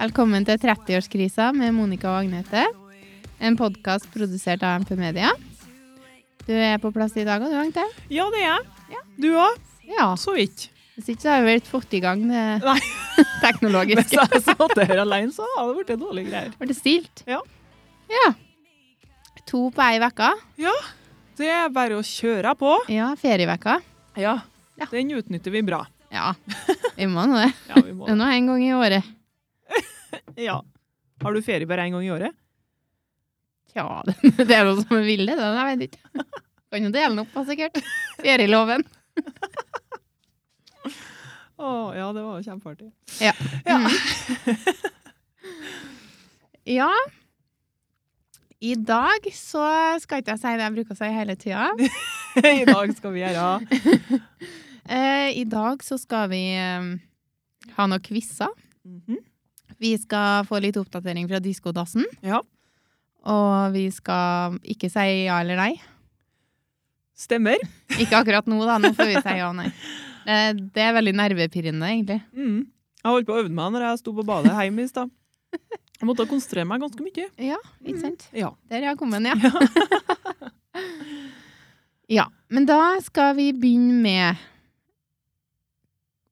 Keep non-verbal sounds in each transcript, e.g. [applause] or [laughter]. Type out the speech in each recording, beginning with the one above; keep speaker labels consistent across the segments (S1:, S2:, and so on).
S1: Velkommen til 30-årskrisa med Monica og Agnete. En podkast produsert av MP Media. Du er på plass i dag, og du, Agnete?
S2: Ja, det er jeg. Du òg?
S1: Ja.
S2: Så vidt.
S1: Hvis ikke så har vi vel fått i gang [laughs] det
S2: [laughs] Nei. Hvis
S1: teknologiske.
S2: jeg satt her alene, så hadde det blitt dårlige greier.
S1: Var det stilt?
S2: Ja.
S1: ja. To på ei uke.
S2: Ja, det er bare å kjøre på.
S1: Ja, ferievekka.
S2: Ja.
S1: Ja.
S2: Den utnytter vi bra.
S1: Ja, vi må nå det.
S2: Ja, vi må.
S1: Det er nå en gang i året.
S2: [laughs] Ja. Har du ferie bare én gang i året?
S1: Tja, [laughs] det er noe som er ville, det. Jeg vet ikke. Kan jo dele den opp, da, sikkert. Ferieloven.
S2: Å ja, det var jo kjempeartig.
S1: Ja.
S2: Ja.
S1: [laughs] Ja. I dag så skal ikke jeg si det jeg bruker å si hele tida.
S2: [laughs] I dag skal vi gjøre
S1: Eh, I dag så skal vi eh, ha noen quizer.
S2: Mhm.
S1: Vi skal få litt oppdatering fra diskodassen.
S2: Ja.
S1: Og vi skal ikke si ja eller nei.
S2: Stemmer.
S1: Ikke akkurat nå, da. Nå får vi si ja og nei. Eh, Det er veldig nervepirrende, egentlig.
S2: Mm. Jeg holdt på å øve meg når jeg sto på badet hjemme i stad. Jeg måtte konsentrere meg ganske mye.
S1: Ja, ikke sant?
S2: Ja.
S1: Der er jeg kommet, ja. [laughs] ja. Men da skal vi begynne med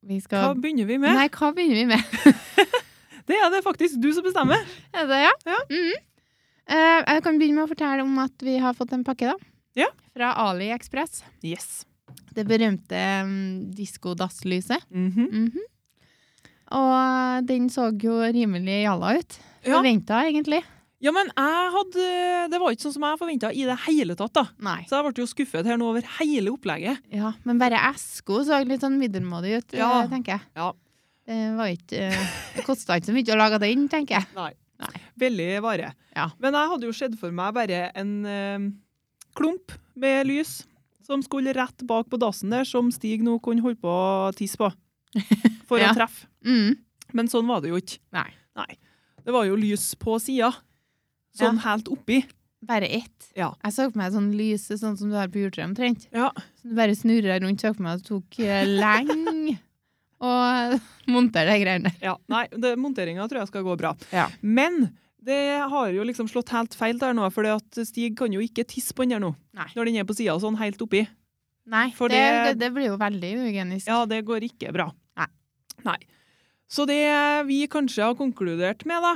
S1: Vi
S2: Hva
S1: skal
S2: begynner vi med?
S1: Nei, hva begynner vi med? [laughs]
S2: Det er det faktisk du som bestemmer.
S1: Er det ja?
S2: Ja.
S1: Mhm. Eh, jeg kan begynne med å fortelle om at vi har fått en pakke da.
S2: Ja.
S1: Fra AliExpress.
S2: Yes.
S1: Det berømte um, disko-dasslyset.
S2: Mhm.
S1: Mhm. Og den så jo rimelig jalla ut.
S2: Ja.
S1: Forventa, egentlig.
S2: Ja, men jeg hadde, det var ikke sånn som jeg forventa i det hele tatt. da.
S1: Nei.
S2: Så jeg ble jo skuffet her nå over hele opplegget.
S1: Ja, men bare eska så litt sånn middelmådig ut,
S2: Ja.
S1: eh, tenker jeg.
S2: Ja.
S1: Det var ikke eh, Det kosta ikke så mye å lage den, tenker jeg.
S2: Nei.
S1: Nei.
S2: Veldig vare.
S1: Ja.
S2: Men jeg hadde jo sett for meg bare en eh, klump med lys som skulle rett bak på dassen der, som Stig nå kunne holde på å tisse
S1: [laughs]
S2: på for
S1: Ja.
S2: å treffe.
S1: Mm.
S2: Men sånn var det jo ikke.
S1: Nei.
S2: Det var jo lys på sida. Sånn helt oppi.
S1: Bare ett.
S2: Ja.
S1: Jeg så på meg sånn lyse, sånn som du har på juletreet omtrent.
S2: Ja.
S1: Så du bare snurra rundt, så på meg at det tok eh, lenge å montere de greiene der.
S2: Ja, nei, Monteringa tror jeg skal gå bra.
S1: Ja.
S2: Men det har jo liksom slått helt feil der nå, for Stig kan jo ikke tisse på den der nå.
S1: Nei.
S2: Når den er på sida sånn helt oppi.
S1: Nei,
S2: For
S1: det, det,
S2: det-
S1: det blir jo veldig uhygienisk.
S2: Ja, det går ikke bra.
S1: Nei.
S2: Nei. Så det vi kanskje har konkludert med, da,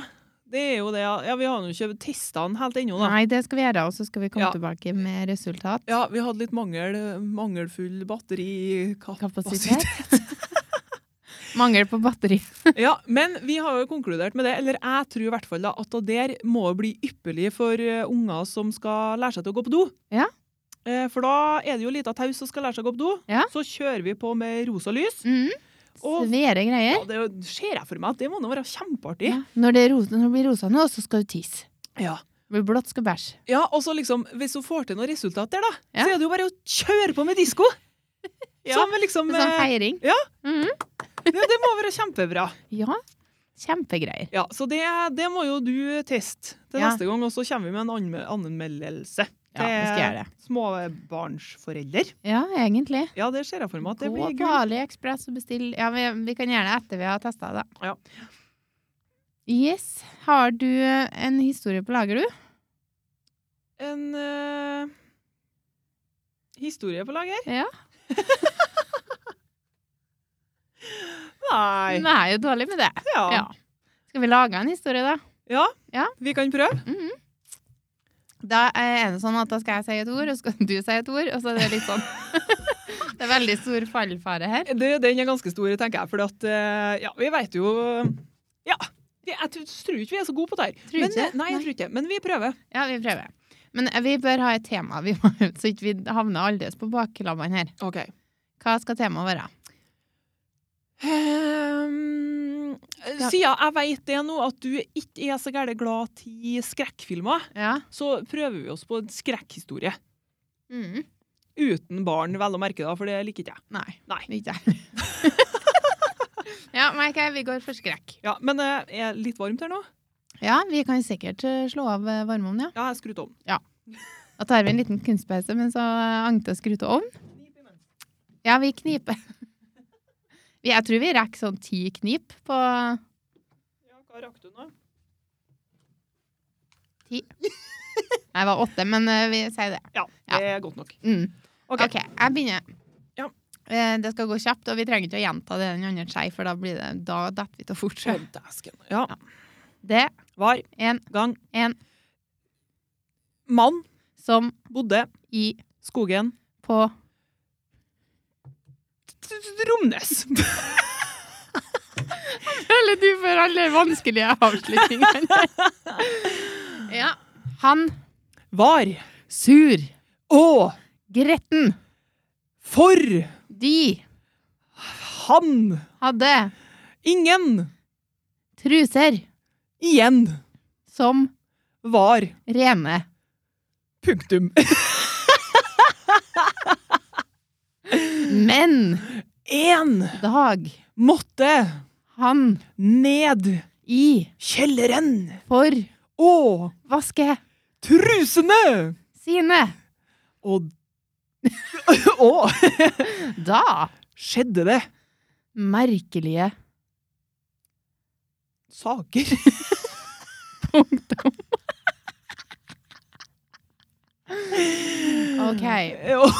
S2: det er jo det Ja, vi har jo ikke testa den helt ennå, da.
S1: Nei, det skal vi gjøre, og så skal vi komme
S2: Ja.
S1: tilbake med resultat.
S2: Ja, vi hadde litt mangel, mangelfull batterikapasitet.
S1: Kapasitet. [laughs] Mangel på batteri.
S2: Ja, men vi har jo konkludert med det, eller jeg tror i hvert fall da, at det der må bli ypperlig for eh, unger som skal lære seg til å gå på do.
S1: Ja.
S2: Eh, For da er det jo lita taus som skal lære seg å gå på do.
S1: Ja.
S2: Så kjører vi på med rosa lys.
S1: Mm.
S2: Og-
S1: Svære
S2: Ja,
S1: greier.
S2: det er jo- ser jeg for meg at det må nå være kjempeartig.
S1: Ja. Når, det er ros- når det blir rosa nå, så skal du tisse.
S2: Ja.
S1: Blir blått, skal bæsje.
S2: ja, og så liksom, hvis hun får til noen resultater da,
S1: Ja.
S2: så er det jo bare å kjøre på med disko.
S1: [laughs] Ja,
S2: Som liksom,
S1: Det er Sånn
S2: eh,
S1: feiring.
S2: ja.
S1: Mhm.
S2: det, det må være kjempebra.
S1: ja. Kjempegreier.
S2: Ja, så det, det må jo du teste til
S1: Ja.
S2: neste gang, og så kommer vi med en anme- anmeldelse.
S1: Ja, vi skal gjøre det.
S2: Småbarnsforelder.
S1: Ja, egentlig.
S2: Ja, det ser jeg for meg at det
S1: Gå
S2: blir
S1: på
S2: gull.
S1: AliExpress og bestill. Ja, vi, vi kan gjøre det etter vi har testa det. da.
S2: Ja.
S1: Yes. Har du en historie på lager, du?
S2: En eh, historie på lager?
S1: Ja.
S2: [laughs] Nei.
S1: Nei, jeg er jo dårlig med det.
S2: Ja.
S1: Ja. Skal vi lage en historie, da?
S2: Ja,
S1: Ja.
S2: vi kan prøve.
S1: Da er det sånn at da skal jeg si et ord, og så skal [laughs] du si et ord, og så er det litt sånn. [laughs] det er veldig stor fallfare her.
S2: Det, den er ganske stor, tenker jeg, for at, eh, ja, vi vet jo Ja. vi- Jeg tror- tror ikke vi er så gode på det her.
S1: Tror
S2: Men, eh,
S1: ikke?
S2: Nei, jeg tror ikke. Men vi prøver.
S1: Ja, vi prøver. Men eh, vi bør ha et tema, vi må, [laughs] så ikke vi havner aldeles på baklabbene her.
S2: Ok.
S1: Hva skal temaet være?
S2: Um,
S1: Skal-
S2: Sia, jeg vet det nå at du ikke er så gærent glad til skrekkfilmer.
S1: Ja.
S2: Så prøver vi oss på en skrekkhistorie.
S1: Mm.
S2: Uten barn, vel å merke, da, for det liker ikke jeg.
S1: Nei.
S2: Nei.
S1: Ikke jeg. [laughs] ja, men ok, vi går for skrekk.
S2: Ja, Men eh, er det litt varmt her nå?
S1: Ja, vi kan sikkert eh, slå av eh, varmeovnen, ja.
S2: Ja, jeg skrur om.
S1: Da tar vi en liten kunstpause, men så eh, Agnete skrur til ovn. Ja, vi [laughs] kniper. Vi- Jeg tror vi rekker sånn ti knip på
S2: Hva rakk du nå?
S1: Jeg var åtte, men eh, vi sier det.
S2: Ja,
S1: Ja.
S2: det er godt nok.
S1: Mm.
S2: OK.
S1: OK, jeg begynner.
S2: Ja.
S1: Eh, Det skal gå kjapt, og vi trenger ikke å gjenta det den andre sier, for da blir det, da detter vi til å
S2: Å,
S1: fortsette.
S2: dæsken. Ja.
S1: Det
S2: Var
S1: en
S2: gang
S1: en
S2: mann
S1: som
S2: bodde
S1: i
S2: skogen
S1: på
S2: Romnes. [laughs]
S1: Eller du får alle vanskelige avslutningene. ja. Han
S2: Var
S1: sur,
S2: og
S1: gretten,
S2: for
S1: de
S2: han
S1: hadde
S2: ingen
S1: truser
S2: igjen
S1: som
S2: var
S1: rene.
S2: punktum. [laughs]
S1: Men
S2: En
S1: dag
S2: måtte
S1: han
S2: ned
S1: i
S2: kjelleren
S1: for
S2: og
S1: vaske
S2: trusene
S1: sine.
S2: og [laughs] Og
S1: Da
S2: skjedde det
S1: merkelige
S2: saker.
S1: OK.
S2: [laughs] OK,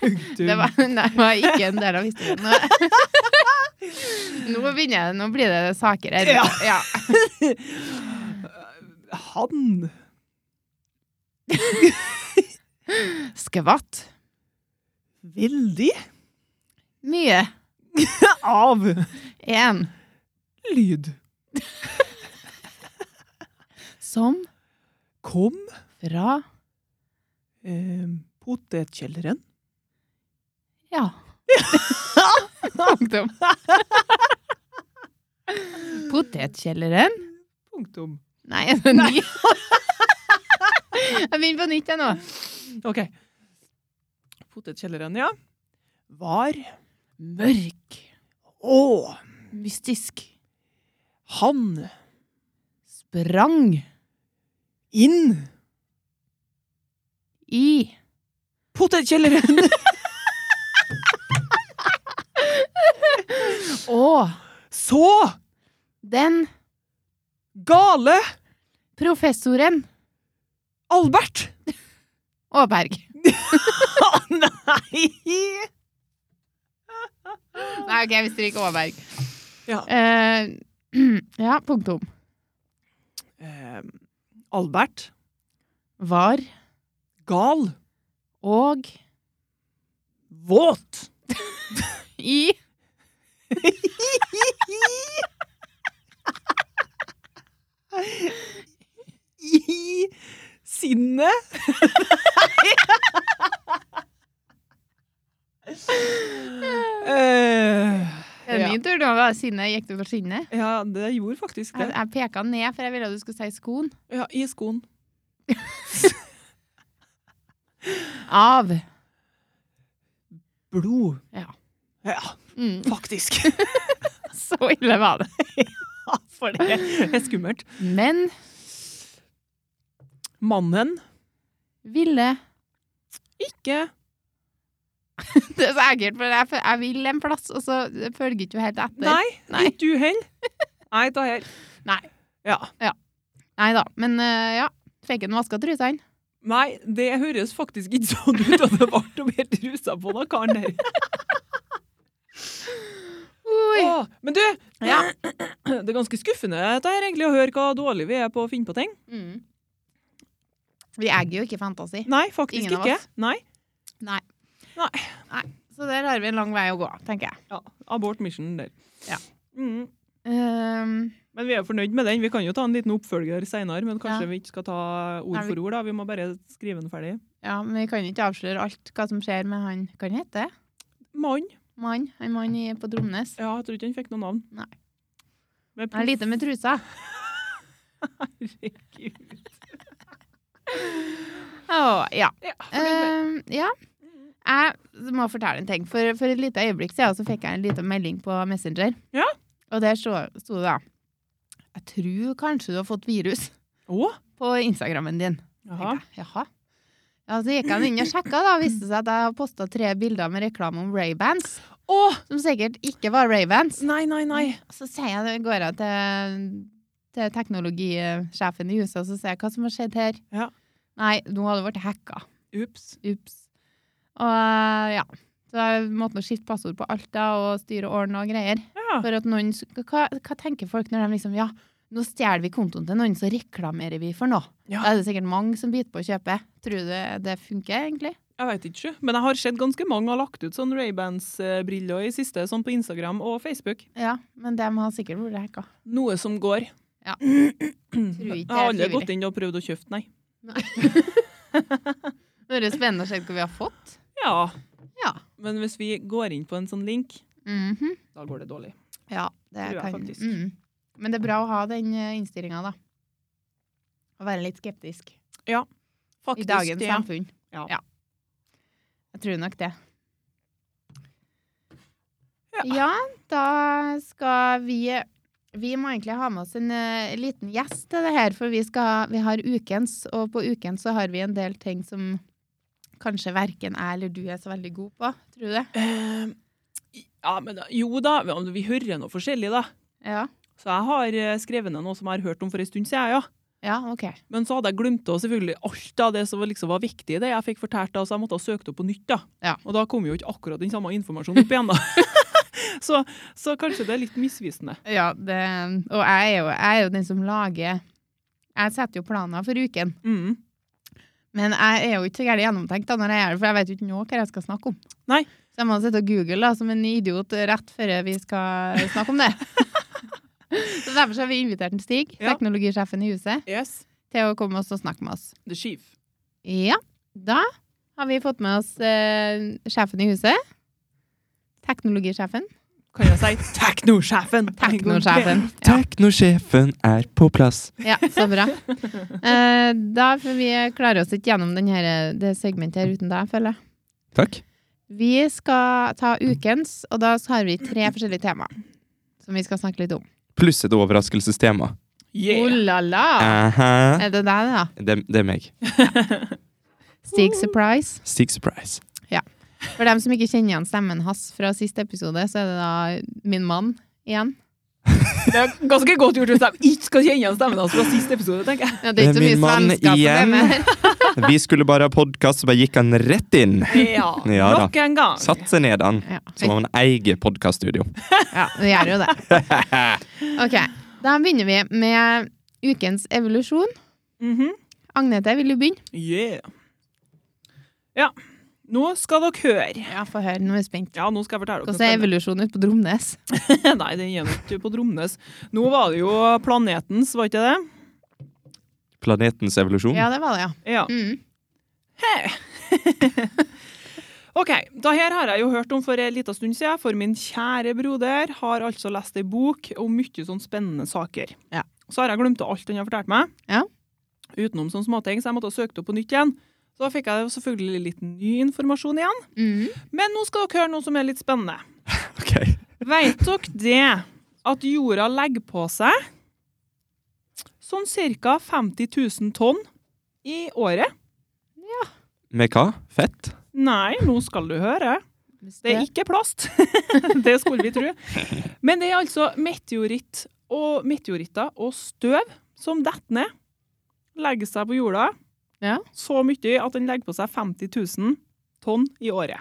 S2: punktum.
S1: Det var, [laughs] nei, det var ikke en del av historien. Nå, [laughs] nå begynner jeg. Nå blir det saker her.
S2: Ja.
S1: ja.
S2: Han
S1: Skvatt.
S2: veldig
S1: Mye.
S2: av
S1: En
S2: lyd
S1: som
S2: kom
S1: fra
S2: eh, potetkjelleren.
S1: Ja. Punktum. [laughs] Potetkjelleren?
S2: Punktum.
S1: Nei, er det ny? Jeg begynner på nytt, jeg nå.
S2: OK. Potetkjelleren, ja. Var
S1: Mørk.
S2: og
S1: Mystisk.
S2: han
S1: Sprang
S2: inn
S1: i [laughs]
S2: potetkjelleren
S1: Og
S2: så
S1: den
S2: gale
S1: professoren
S2: [laughs] Albert.
S1: Aaberg.
S2: Nei!
S1: Nei, OK, vi stryker Aaberg.
S2: Ja.
S1: Eh, [clears throat] ja, punktum.
S2: Eh, Albert
S1: Var
S2: gal
S1: og
S2: våt.
S1: i
S2: I [laughs] sinnet eh,
S1: Det er min tur nå. hva? Sinne, gikk du for sinnet?
S2: Ja, det gjorde faktisk
S1: Jeg,
S2: det.
S1: jeg peka ned, for jeg ville at du skulle si skoen.
S2: Ja, I skoen.
S1: Av.
S2: Blod.
S1: Ja.
S2: Ja,
S1: Mm.
S2: faktisk. [laughs]
S1: Så ille var det.
S2: For det er skummelt.
S1: Men
S2: Mannen
S1: ville
S2: ikke
S1: Det er så ekkelt, for jeg, jeg vil en plass, og så følger ikke du helt etter.
S2: Nei,
S1: Nei.
S2: ikke du heller. Nei, da her.
S1: Nei.
S2: Ja.
S1: Nei da. Men eh, ja. Fikk han vaska trusene?
S2: Nei, det høres faktisk ikke sånn ut at det ble noe mer rusa på den karen der.
S1: Oi.
S2: Åh, men du,
S1: Ja.
S2: det er ganske skuffende dette her egentlig å høre hva dårlig vi er på å finne på ting.
S1: Mm. Vi eier jo ikke fantasi,
S2: Nei, faktisk
S1: Ingen av
S2: ikke.
S1: oss.
S2: Nei.
S1: så der har vi en lang vei å gå, tenker jeg.
S2: Ja, abort mission der.
S1: Ja.
S2: Mm.
S1: Ehm,
S2: Men vi er jo fornøyd med den. Vi kan jo ta en liten oppfølger senere, men kanskje
S1: Ja.
S2: vi ikke skal ta ord
S1: Nei, vi-
S2: for ord. da. Vi må bare skrive den ferdig.
S1: ja, men vi kan jo ikke avsløre alt hva som skjer med han Hva han heter han?
S2: Mann.
S1: Mann, han mann i- på Tromnes.
S2: Ja, jeg tror ikke han fikk noe navn.
S1: Nei.
S2: Men
S1: Han er lite med trusa.
S2: herregud.
S1: Å, ja.
S2: Ja, fornøyd med.
S1: Ehm, ja. Jeg må fortelle en ting. For, for et lite øyeblikk siden så fikk jeg en liten melding på Messenger.
S2: Ja.
S1: Og der sto sto det da Jeg tror kanskje du har fått virus
S2: Å?
S1: på Instagrammen din.
S2: Jaha.
S1: Tenkte jeg, Jaha. Ja, så gikk han inn og sjekka, da. Viste seg at jeg har posta tre bilder med reklame om Ray-Bans.
S2: Å!
S1: som sikkert ikke var Ravens.
S2: Nei, nei, nei.
S1: Så sier jeg, det, går jeg til, til teknologisjefen i huset og så sier jeg, hva som har skjedd her.
S2: Ja.
S1: Nei, nå har det vært hacka.
S2: Ups.
S1: Ups. Og eh, ja, så jeg måtte nå skifte passord på alt da, og styre og ordne og greier.
S2: Ja.
S1: For at noen, sk- hva, hva tenker folk når de liksom, ja, nå stjeler vi kontoen til noen, så reklamerer vi for noe.
S2: Ja.
S1: Da er det sikkert mange som biter på å kjøpe. Tror du det, det funker egentlig?
S2: Jeg vet ikke, men jeg har sett ganske mange har lagt ut sånn Ray-Bans-briller i siste, sånn på Instagram og Facebook.
S1: Ja, men de har sikkert vært hacka.
S2: Noe som går. [clears throat]
S1: Ja.
S2: Jeg
S1: ikke
S2: har
S1: det er
S2: aldri
S1: frivillig.
S2: gått inn og prøvd å kjøpe, nei.
S1: Nå er det spennende å se hva vi har fått.
S2: Ja,
S1: Ja.
S2: men hvis vi går inn på en sånn link,
S1: Mhm.
S2: da går det dårlig.
S1: Ja, det
S2: Tror jeg
S1: kan
S2: faktisk.
S1: Mm. Men det er bra å ha den eh, innstillinga, da. Å være litt skeptisk i
S2: Faktisk,
S1: dagens
S2: det.
S1: samfunn.
S2: Ja.
S1: Jeg tror nok det.
S2: Ja.
S1: Ja. da skal vi Vi må egentlig ha med oss en eh, liten gjest til det her, for vi, skal, vi har ukens, og på ukens så har vi en del ting som kanskje verken jeg eller du er så veldig god på. Tror du det?
S2: Eh, ja, men da, jo da, vi, vi hører noe forskjellig da.
S1: Ja.
S2: Så jeg har eh, skrevet ned noe som jeg har hørt om for en stund siden, ja.
S1: Ja, OK.
S2: Men så hadde jeg glemt å selvfølgelig alt av det som var liksom var viktig i det jeg fikk fortalt, da, så jeg måtte ha søkt opp på nytt. da.
S1: Ja.
S2: Og da kom jo ikke akkurat den samme informasjonen opp igjen, da. [laughs] så, så kanskje det er litt misvisende.
S1: Ja, det, og jeg er, jo, jeg er jo den som lager Jeg setter jo planer for uken,
S2: Mm.
S1: men jeg er jo ikke så gærent gjennomtenkt, da, når jeg gjør det, for jeg vet jo ikke nå hva jeg skal snakke om.
S2: Nei.
S1: Så jeg må sitte og google da, som en idiot rett før vi skal snakke om det. [laughs] så Derfor så har vi invitert en Stig,
S2: Ja.
S1: teknologisjefen i huset,
S2: Yes.
S1: til å komme oss og snakke med oss.
S2: The chief.
S1: Ja, da har vi fått med oss eh, sjefen i huset.
S2: [laughs]
S1: Teknologisjefen.
S2: Kan jeg si [laughs] teknosjefen?
S1: Teknosjefen. Ja.
S3: Teknosjefen er på plass.
S1: Ja, så bra. Eh, da, for vi klarer oss ikke gjennom den her, eh, det segmentet her uten deg, føler jeg.
S3: Takk.
S1: Vi skal ta ukens, og da har vi tre forskjellige temaer som vi skal snakke litt om.
S3: Pluss et overraskelsestema.
S1: Oh
S2: Yeah.
S1: la la!
S2: Ah.
S3: Aha.
S1: Er det deg, da?
S3: Det, det er meg.
S1: Stig Surprise.
S3: Stig Surprise.
S1: For dem som ikke kjenner igjen stemmen hans fra siste episode, så er det da min mann igjen.
S2: Det er ganske godt gjort hvis de ikke skal kjenne igjen stemmen hans fra siste episode, tenker jeg.
S1: Ja, det er ikke så mye
S3: Eh, Min mann
S1: svensker som er
S3: igjen.
S1: med
S3: [laughs]
S1: her.
S3: Vi skulle bare ha podkast, så bare gikk han rett inn.
S2: [laughs] Ja,
S3: Ja da.
S2: Nok en gang.
S3: Satt seg ned, han.
S1: Ja,
S3: Som om han eier podkaststudio.
S1: [laughs] ja, vi gjør jo det.
S3: [laughs]
S1: Ok, da begynner vi med ukens evolusjon.
S2: Mhm.
S1: Agnete, vil du begynne?
S2: Yeah. Ja. Nå skal dere høre.
S1: Ja, få høre. Nå er jeg spent.
S2: Ja, nå skal jeg fortelle dere
S1: Hvordan
S2: noe
S1: er
S2: spennende.
S1: evolusjonen ute på Dromnes?
S2: [laughs] Nei, den er nok ikke på Dromnes. Nå var det jo planetens, var ikke det?
S3: Planetens evolusjon.
S1: Ja, det var det, ja.
S2: Ja.
S1: Mm.
S2: OK. Da her har jeg jo hørt om for en liten stund siden, for min kjære broder har altså lest ei bok om mye sånn spennende saker.
S1: Ja.
S2: Så har jeg glemt alt han har fortalt meg,
S1: Ja.
S2: utenom sånne småting, så jeg måtte ha søkt opp på nytt igjen. Så da fikk jeg jo selvfølgelig litt ny informasjon igjen.
S1: Mm.
S2: Men nå skal dere høre noe som er litt spennende.
S3: Ok.
S2: Veit dere det at jorda legger på seg sånn ca. 50 000 tonn i året?
S3: Med hva? Fett?
S2: Nei, nå skal du høre. Det er
S1: Det-
S2: ikke plast. [laughs] det skulle vi tro. Men det er altså meteoritt og meteoritter og støv som detter ned, legger seg på jorda
S1: Ja.
S2: så mye at den legger på seg 50 000 tonn i året.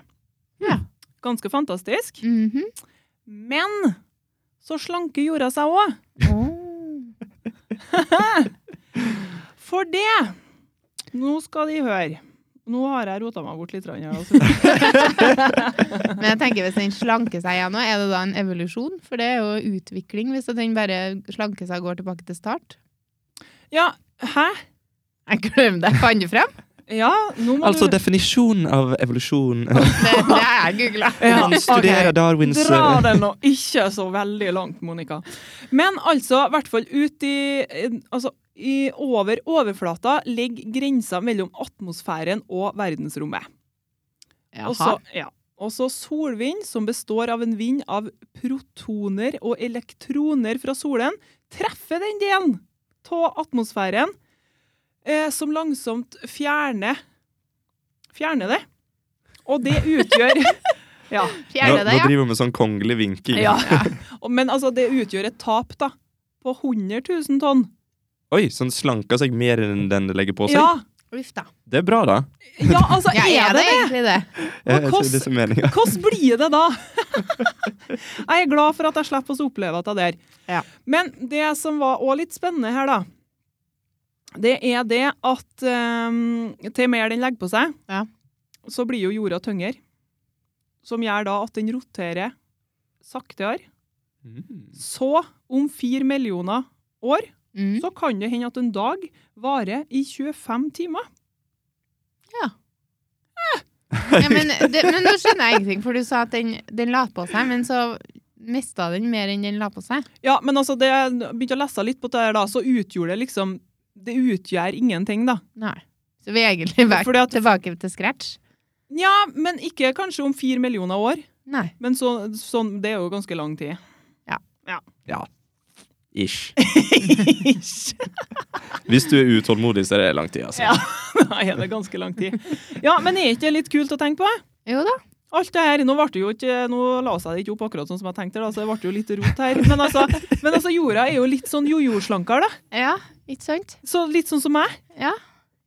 S1: Ja.
S2: Ganske fantastisk.
S1: Mhm.
S2: Men så slanker jorda seg òg.
S1: Åh.
S2: For det Nå skal de høre. Nå har jeg rota meg bort litt. grann her,
S1: [laughs]
S2: Altså.
S1: Men jeg tenker hvis den slanker seg igjen nå, er det da en evolusjon? For det er jo utvikling hvis at den bare slanker seg og går tilbake til start.
S2: Ja, hæ?
S1: Jeg glemte det. Fant du frem?
S2: Ja, nå må
S3: Altså
S2: du
S3: definisjonen av evolusjon.
S1: Det, det har jeg googla.
S2: Ja,
S3: [laughs] Han
S2: ok.
S3: studerer Darwins
S2: Dra
S3: eh,
S2: den nå ikke så veldig langt, Monica. Men altså, i hvert fall ut i eh, Altså, i over overflata ligger grensa mellom atmosfæren og verdensrommet. Og så- ja. Og så solvind, som består av en vind av protoner og elektroner fra solen, treffer den delen av atmosfæren eh, som [laughs] langsomt fjerner Fjerner det. Og det utgjør Ja.
S3: Nå,
S1: Fjerne
S3: nå
S1: det, ja.
S3: driver vi med sånn kongelig vinking.
S2: Ja. Og- Men altså, det utgjør et tap da, på 100 000 tonn.
S3: Oi, så den slanker seg mer enn den det legger på seg?
S2: Ja,
S1: Uff da.
S3: Det er bra, da.
S2: ja altså,
S1: Ja,
S2: er det det?
S1: egentlig det?
S3: Jeg,
S2: Og
S3: jeg tror det er meninga.
S2: Hvordan blir det da? [laughs] jeg er glad for at jeg slipper å oppleve at det der.
S1: Ja.
S2: Men det som var også litt spennende her, da, det er det at ehm, til mer den legger på seg,
S1: Ja.
S2: så blir jo jorda tyngre. Som gjør da at den roterer saktere. Mm. Så, om fire millioner år,
S1: Mm.
S2: så kan det hende at en dag varer i 25 timer.
S1: Ja, men, det, men nå skjønner jeg ingenting, for du sa at den, den la på seg, men så mista den mer enn den la på seg.
S2: Ja, men altså, det, jeg begynte å lese litt på det her da, så utgjorde det liksom Det utgjør ingenting, da.
S1: Nei. Så vi er egentlig vært
S2: Fordi at,
S1: tilbake til scratch.
S2: ja, men ikke kanskje om fire millioner år.
S1: Nei.
S2: Men så, sånn, det er jo ganske lang tid. [laughs]
S3: Ish.
S2: Ikke?
S3: Hvis du er utålmodig, så er det lang tid, altså.
S2: Ja. Nei, det er ganske lang tid. Ja, men er ikke det litt kult å tenke på?
S1: Jo da.
S2: Alt det her, Nå, ble det jo ikke, nå la seg det ikke opp akkurat sånn som jeg tenkte, da, så det ble jo litt rot her. Men altså, men altså jorda er jo litt sånn jojo-slankere, da.
S1: Ja, ikke sant?
S2: Så litt sånn som meg.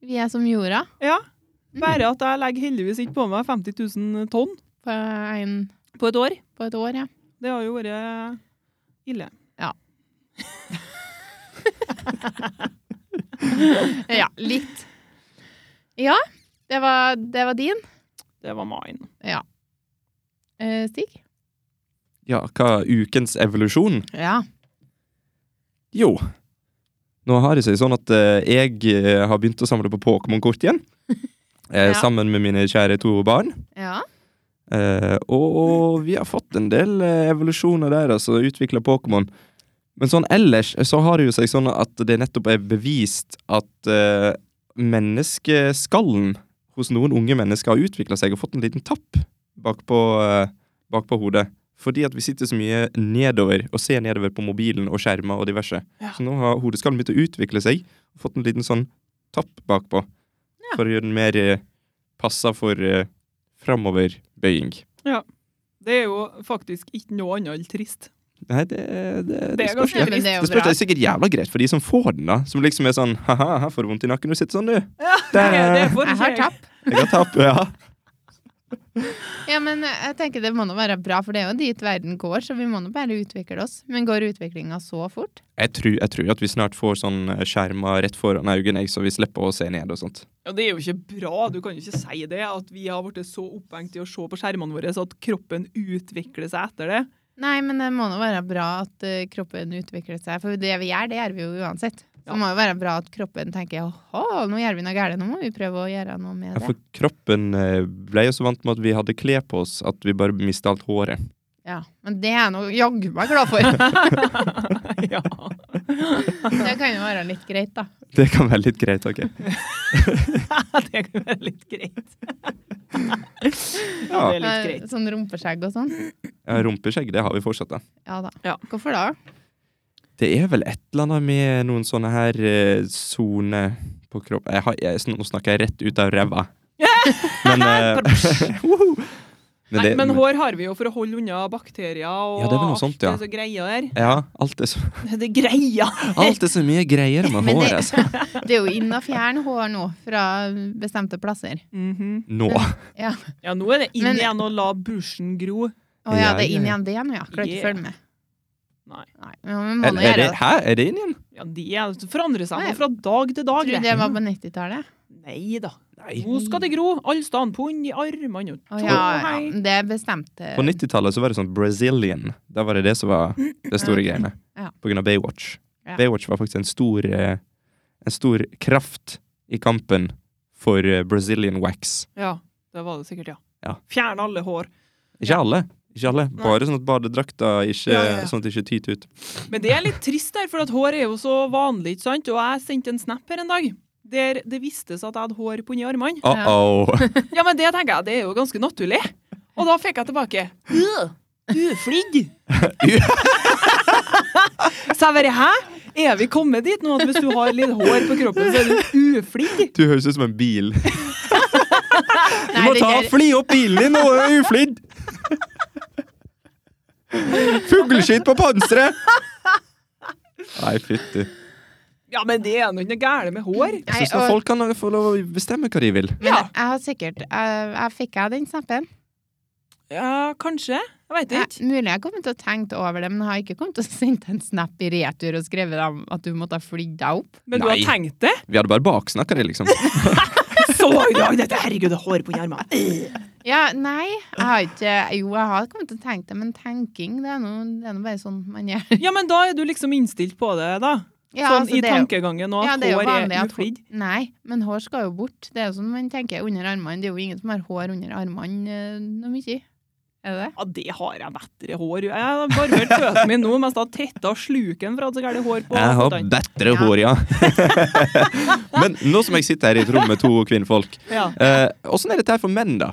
S1: Vi er som jorda
S2: Ja. Bare at jeg legger heldigvis ikke på meg 50 000 tonn
S1: på, en,
S2: på et år.
S1: på et år, ja.
S2: Det har jo vært ille.
S1: Ja, litt. Ja, det var, det var din.
S2: Det var mine.
S1: Eh, Stig?
S3: Ja, hva ukens evolusjon?
S1: Ja.
S3: Jo. Nå har det seg sånn at eh, jeg eh, har begynt å samle på Pokémon-kort igjen. Eh,
S1: Ja.
S3: Sammen med mine kjære to barn.
S1: Ja.
S3: Eh, og vi har fått en del eh, evolusjoner der, altså utvikla Pokémon. Men sånn ellers så har det jo seg sånn at det nettopp er bevist at eh, menneskeskallen hos noen unge mennesker har utvikla seg og fått en liten tapp bakpå eh, bak på hodet. Fordi at vi sitter så mye nedover og ser nedover på mobilen og skjermer og diverse.
S2: Ja.
S3: Så nå har hodeskallen begynt å utvikle seg og fått en liten sånn tapp bakpå. For å gjøre den mer eh, passa for eh, framoverbøying.
S2: Det er jo faktisk ikke noe annet enn trist.
S3: Nei, det, det, det,
S2: Det er
S3: spørs
S2: ganske
S1: Ja, men det
S3: det.
S1: er
S3: Det
S1: jo
S3: spørs,
S1: bra.
S3: det er sikkert jævla greit for de som får den, da. Som liksom er sånn ha-ha, her får du vondt i nakken når du sitter sånn, du. Der,
S1: Jeg har tapt.
S3: Jeg har tapt, ja.
S1: Ja, men eh, jeg tenker det må nå være bra, for det er jo dit verden går, så vi må nå bare utvikle oss. Men går utviklinga så fort?
S3: Jeg tror, jeg tror at vi snart får sånn eh, skjermer rett foran øynene, jeg, så vi slipper å se ned og sånt.
S2: Ja, det er jo ikke bra. Du kan jo ikke si det. At vi har blitt så opphengt i å se på skjermene våre så at kroppen utvikler seg etter
S1: [laughs]
S2: det. [laughs]
S1: Nei, men det må nå være bra at eh, kroppen utvikler seg, for det vi gjør, det gjør vi jo uansett. Så
S2: Ja.
S1: det må jo være bra at kroppen tenker åhå, nå gjør vi noe galt, nå må vi prøve å gjøre noe med
S3: Ja,
S1: det.
S3: for kroppen eh, ble jo så vant med at vi hadde klær på oss, at vi bare mista alt håret.
S1: Ja, Men det er jeg nå jaggu meg glad for.
S2: ja.
S1: Det kan jo være litt greit, da.
S3: Det kan være litt greit, OK?
S2: det kan være litt greit. ja, det er litt greit.
S1: Sånn rumpeskjegg og sånn.
S3: Ja, rumpeskjegg, det har vi fortsatt, da.
S1: Ja da.
S2: Ja.
S1: Hvorfor da?
S3: Det er vel et eller annet med noen sånne her soner på kroppen jeg har, jeg, Nå snakker jeg rett ut av ræva. Men, eh, [laughs] woho! men,
S2: Nei,
S3: det,
S2: men hår har vi jo for å holde unna bakterier og
S3: Ja, det er vel noe sånt, ja.
S2: alt det så greia
S1: [laughs]
S2: der.
S3: Ja, alt er, så,
S2: Det er greia!
S3: alt er så mye greier med
S1: [laughs] Men det-
S3: hår, altså.
S1: Det er jo inn å fjerne hår nå, fra bestemte plasser.
S2: [laughs] Mhm.
S3: Nå.
S1: Ja.
S2: Ja, nå er det inn
S1: Men-
S2: igjen å la bushen gro.
S1: Å ja, det er
S3: Ja,
S1: inn
S3: ja.
S1: igjen det nå, ja. Klarer ikke
S2: Yeah.
S1: å følge med.
S2: Nei.
S1: Nei, men vi må
S3: Er,
S1: nå
S3: er
S1: gjøre
S3: det,
S1: det.
S3: hæ, er det inn igjen?
S2: Ja, de er- forandrer seg
S1: Nei.
S2: nå fra dag til dag.
S1: Tror du det var på 90-tallet?
S2: Nei da.
S3: Nei.
S2: Nå skal det gro. Alle stand pund i armene og
S1: Å ja, ja.
S2: hei.
S1: men Det eh, bestemte
S3: På 90-tallet så var det sånn Brazilian. Da var det det som var det store greiene.
S1: Ja.
S3: På grunn av Baywatch.
S1: Ja.
S3: Baywatch var faktisk en stor, eh, en stor kraft i kampen for eh, Brazilian wax.
S2: Ja, det var det sikkert, ja.
S3: Ja.
S2: Fjern alle hår.
S3: Ikke alle. Ikke alle.
S2: Nei.
S3: Bare sånn at badedrakta ikke,
S2: Ja, ja, ja.
S3: Sånn at det ikke tyter ut.
S2: Men det er litt trist der, for at hår er jo så vanlig, ikke sant? Og jeg sendte en snap her en dag. Der det vistes at jeg hadde hår på under armene.
S3: Uh -oh.
S2: Ja, men det tenker jeg, det er jo ganske naturlig. Og da fikk jeg tilbake «Øh, Uflidd! Så jeg bare hæ? Er vi kommet dit nå at hvis du har litt hår på kroppen, så er du uflidd?
S3: [laughs] Du høres ut som en bil. Du
S1: Nei,
S3: må
S1: det
S3: ta
S1: der-
S2: [laughs]
S3: fli opp bilen din nå, du er uflidd! Fugleskitt på panseret! Nei, fytti.
S2: Ja, men det er nå ikke noe gærent med hår.
S3: Jeg syns
S1: og-
S3: folk kan få lov å bestemme hva de vil.
S1: Men
S2: Ja.
S1: jeg har sikkert jeg, jeg Fikk jeg den snappen?
S2: Ja, kanskje. Jeg veit
S1: Jeg,
S2: ikke.
S1: mulig jeg kommer til å tenke over det, men jeg har ikke kommet til å [laughs] sende en snap i retur og skrevet om at du måtte ha flydd deg opp.
S2: Men du har
S3: Nei.
S2: tenkt det?
S3: Vi hadde bare baksnakka det, liksom.
S2: Så i dag dette! Herregud, det er hår på armene.
S1: Ja, nei, jeg har ikke Jo, jeg har kommet til å tenke det, men tenking, det er nå det er nå bare sånn man gjør.
S2: Ja, men da er du liksom innstilt på det, da.
S1: Ja,
S2: sånn
S1: altså,
S2: i
S1: det er jo-
S2: tankegangen nå.
S1: Ja,
S2: at
S1: det er jo
S2: hår er
S1: vanlig at hår-
S2: uflidd.
S1: Nei, men hår skal jo bort. Det er jo sånn man tenker under armene. Det er jo ingen som har hår under armene eh, noe mye. Er det det?
S2: Ja, det har jeg bedre hår. Jeg har barbert føttene mine nå mens jeg har tetta sluken for at det er gærent hår på.
S3: Jeg har
S2: føttene.
S3: bedre hår, ja. [laughs] Men nå som jeg sitter her i et rom med to kvinnfolk,
S2: Ja.
S3: eh, åssen er dette her for menn, da?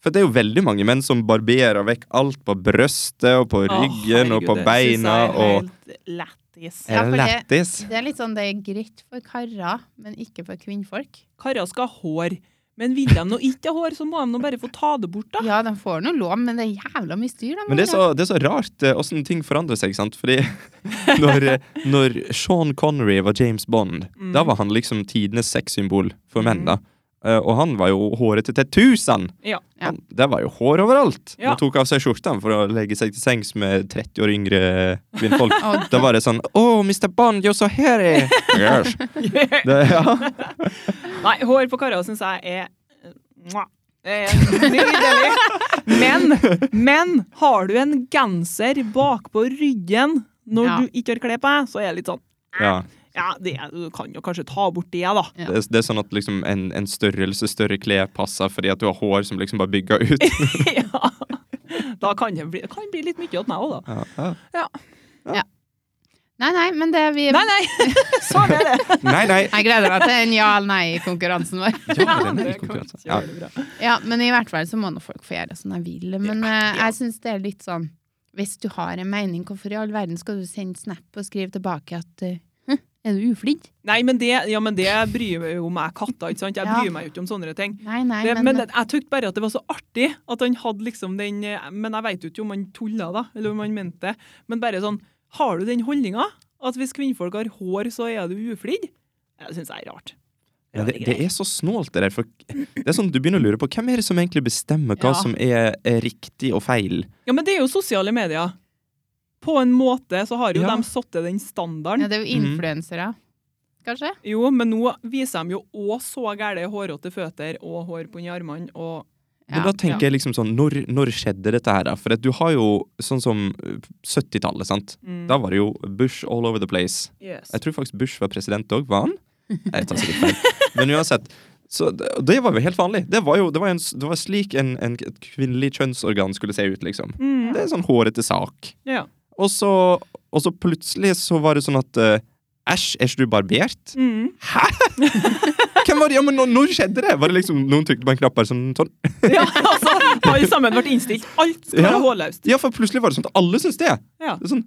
S3: For det er jo veldig mange menn som barberer vekk alt på brøstet og på ryggen og på beina og
S2: og
S1: Ja,
S3: Er
S1: for
S3: det
S1: det-
S3: lættis?
S1: Det er litt sånn det er greit for karer, men ikke for kvinnfolk.
S2: Karer skal ha hår. Men vil de nå ikke ha hår, så må de nå bare få ta det bort, da.
S1: Ja, de får nå lov, men det er jævla mye styr. De
S3: Men det er så, det er så rart eh, åssen ting forandrer seg, sant? Fordi [laughs] når, eh, når Sean Connery var James Bond,
S1: Mm.
S3: da var han liksom tidenes sexsymbol for menn, da. Eh, og han var jo hårete til tusen!
S2: Ja.
S1: Ja.
S3: Han, det var jo hår overalt!
S2: Ja.
S3: Han tok av seg skjorta for å legge seg til sengs med 30 år yngre kvinnfolk.
S1: Å,
S3: da var det sånn Oh, Mr. Bond, you're so hairy! Yes. Det, ja.
S2: Nei, hår på karer syns jeg er eh, mwah, eh, Nydelig. Men, men har du en genser bakpå ryggen når
S1: Ja.
S2: du ikke har klær på deg, så er det litt sånn
S3: ja.
S2: Ja, det, er- du kan jo kanskje ta bort det, da.
S1: Ja.
S3: Det, er- det er sånn at liksom en, en størrelse større klær passer fordi at du har hår som liksom bare bygger ut.
S2: [laughs] ja. Da kan det bli, kan bli litt mye til meg òg, da.
S3: Ja, ja.
S1: Nei, nei, men det vi
S2: Nei, nei, sånn er det.
S3: Nei, nei,
S1: Jeg gleder meg til den ja eller nei-konkurransen vår.
S2: [laughs]
S3: Ja,
S2: Ja,
S3: den er
S2: det
S3: i
S2: kan
S3: konkurranse.
S2: ikke
S3: Ja.
S2: gjøre det bra.
S1: Ja, men i hvert fall så må nå folk få gjøre som de vil. Men eh, jeg syns det er litt sånn Hvis du har en mening, hvorfor i all verden skal du sende snap og skrive tilbake at eh, «Hm, er du uflidd?
S2: Nei, men det, ja, men det bryr meg jo om jeg katter, ikke sant? Jeg
S1: Ja.
S2: bryr meg jo ikke om sånne ting.
S1: Nei, nei,
S2: Det,
S1: men,
S2: Eh, men det, jeg tykte bare at det var så artig at han hadde liksom den eh, Men jeg veit jo ikke om han tulla, da, eller om han mente det. Men bare sånn Har du den holdninga? At hvis kvinnfolk har hår, så er du uflidd? Det syns jeg er rart.
S3: Ja, det, det er så snålt, det der. For det er sånn, du begynner å lure på hvem er det som egentlig bestemmer hva
S2: Ja.
S3: som er, er riktig og feil.
S2: Ja, men det er jo sosiale medier. På en måte så har jo
S3: Ja.
S2: de satt den standarden.
S1: ja, det er jo influensere, kanskje?
S2: Jo, men nå viser de jo òg så gæle hårete føtter og hår på under armene og
S3: Men da tenker jeg liksom sånn, når, når skjedde dette her, da? For at du har jo sånn som eh, 70-tallet, sant?
S2: mm,
S3: Da var det jo Bush all over the place.
S2: yes.
S3: Jeg tror faktisk Bush var president òg. Var han? Jeg tar sikkert feil. Men uansett. Så det, og det var jo helt vanlig. Det var jo det var en, s- det var slik en, en, et kvinnelig kjønnsorgan skulle se ut, liksom.
S2: Mm,
S3: Det er en sånn hårete sak.
S2: ja. [laughs]
S3: Og så, og så plutselig så var det sånn at eh, Æsj, er ikke du barbert?
S2: Mm.
S3: Hæ?! [laughs] Hvem var det? Ja, men nå- når skjedde det? Var det liksom Noen trykte på en knapp bare sånn, sånn.
S2: Ja, altså, alle sammen ble innstilt. Alt skal
S3: Ja.
S2: være hårløst.
S3: Ja, for plutselig var det sånn at alle syntes det!
S2: Ja.
S3: Det er sånn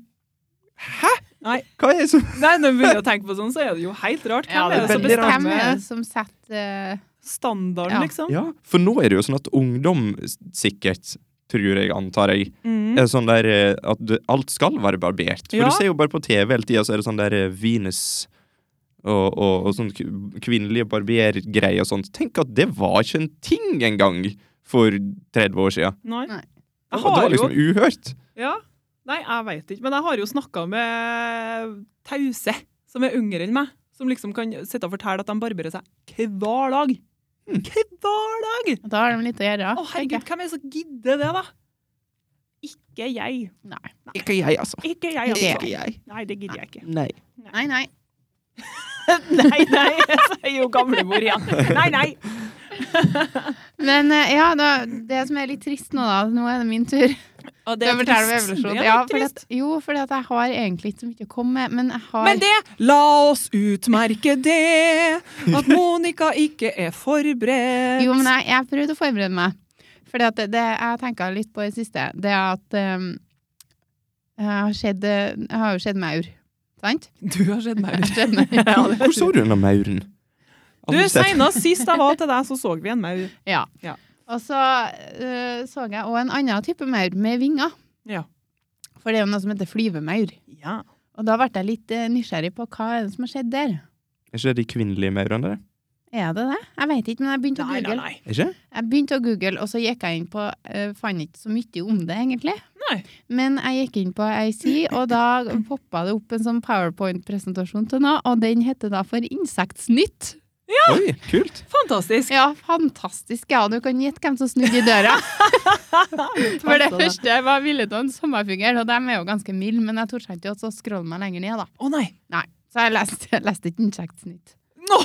S3: Hæ?!
S2: Nei.
S3: Hva er det som
S2: Nei, når vi begynner å tenke på sånn, så er det jo helt rart. Hvem
S1: Ja,
S2: er det som
S3: veldig
S1: Hvem
S3: rart.
S1: er
S2: bestemmer
S1: det som setter eh,
S2: standarden,
S1: Ja.
S2: liksom?
S3: Ja, for nå er det jo sånn at ungdom s- sikkert, tror jeg, antar jeg,
S2: Mm.
S3: er sånn der eh, at det- alt skal være barbert. For
S2: Ja.
S3: du ser jo bare på TV hele tida, så er det sånn der eh, Venus og, og, og sånn k- kvinnelige barbergreier og sånt. Tenk at det var ikke en ting engang for 30 år sia.
S2: Nei.
S1: Nei.
S2: Jeg
S3: Det var
S2: har jo
S3: liksom uhørt.
S2: ja. Nei, jeg veit ikke. Men jeg har jo snakka med tause som er yngre enn meg, som liksom kan sitte og fortelle at de barberer seg hver dag.
S3: Hmm.
S2: Hver dag!
S1: Da har de litt å gjøre.
S2: Å,
S1: tenker
S2: herregud,
S1: jeg.
S2: hvem er det som gidder det, da? Ikke jeg.
S1: Nei.
S3: Ikke jeg, altså.
S2: Ikke jeg,
S1: Ikke
S2: altså.
S3: jeg.
S2: Nei, det gidder jeg ikke.
S3: Nei.
S1: nei, nei.
S2: Nei, nei, [laughs] så er jo gamlemor igjen. Nei, nei.
S1: Men eh, ja, da, det som er litt trist nå, da Nå er det min tur.
S2: Og
S1: Det forteller vi
S2: Det
S1: evolusjon.
S2: er
S1: Ja,
S2: litt
S1: fordi
S2: trist.
S1: at, jo, fordi at jeg har egentlig ikke så mye å komme med, men jeg har
S2: Men det, la oss utmerke det, at Monica ikke er forberedt.
S1: Jo, men jeg, jeg prøvde å forberede meg. For det, det jeg tenka litt på i det siste, det er at ehm, jeg, har sett, eh, jeg har jo sett maur. Sant?
S2: Du har sett meg
S1: Jeg har sett
S2: [laughs]
S1: maur.
S3: Hvor så du den mauren?
S2: Du,
S3: Aldri sett.
S2: senest sist jeg var til deg, så så vi en maur.
S1: Ja.
S2: Ja.
S1: Og så eh, så jeg òg en annen type maur med vinger.
S2: Ja.
S1: For det er jo noe som heter flyvemaur.
S2: Ja.
S1: Og da ble jeg litt eh, nysgjerrig på hva er det som har skjedd der.
S3: Er ikke det de kvinnelige maurene, det?
S1: Er det det? Jeg vet ikke, men jeg begynte å
S2: Nei, nei,
S1: google.
S2: nei.
S3: Ikke?
S1: Jeg begynte å google, og så gikk jeg inn på uh, Fant ikke så mye om det, egentlig.
S2: Nei.
S1: Men jeg gikk inn på IC, og da poppa det opp en sånn powerpoint-presentasjon til noe, og den heter da for Insektsnytt.
S3: Oi, kult!
S2: Fantastisk.
S1: Ja, fantastisk. Ja, du kan gjette hvem som snudde i
S2: [laughs]
S1: døra. For det
S2: Passa det.
S1: første var ville til en sommerfugl, og de er jo ganske milde, men jeg torde ikke å scrolle meg lenger ned, da.
S2: Å nei.
S1: Nei, så jeg leste, jeg leste ikke Insektsnytt.
S2: Nå!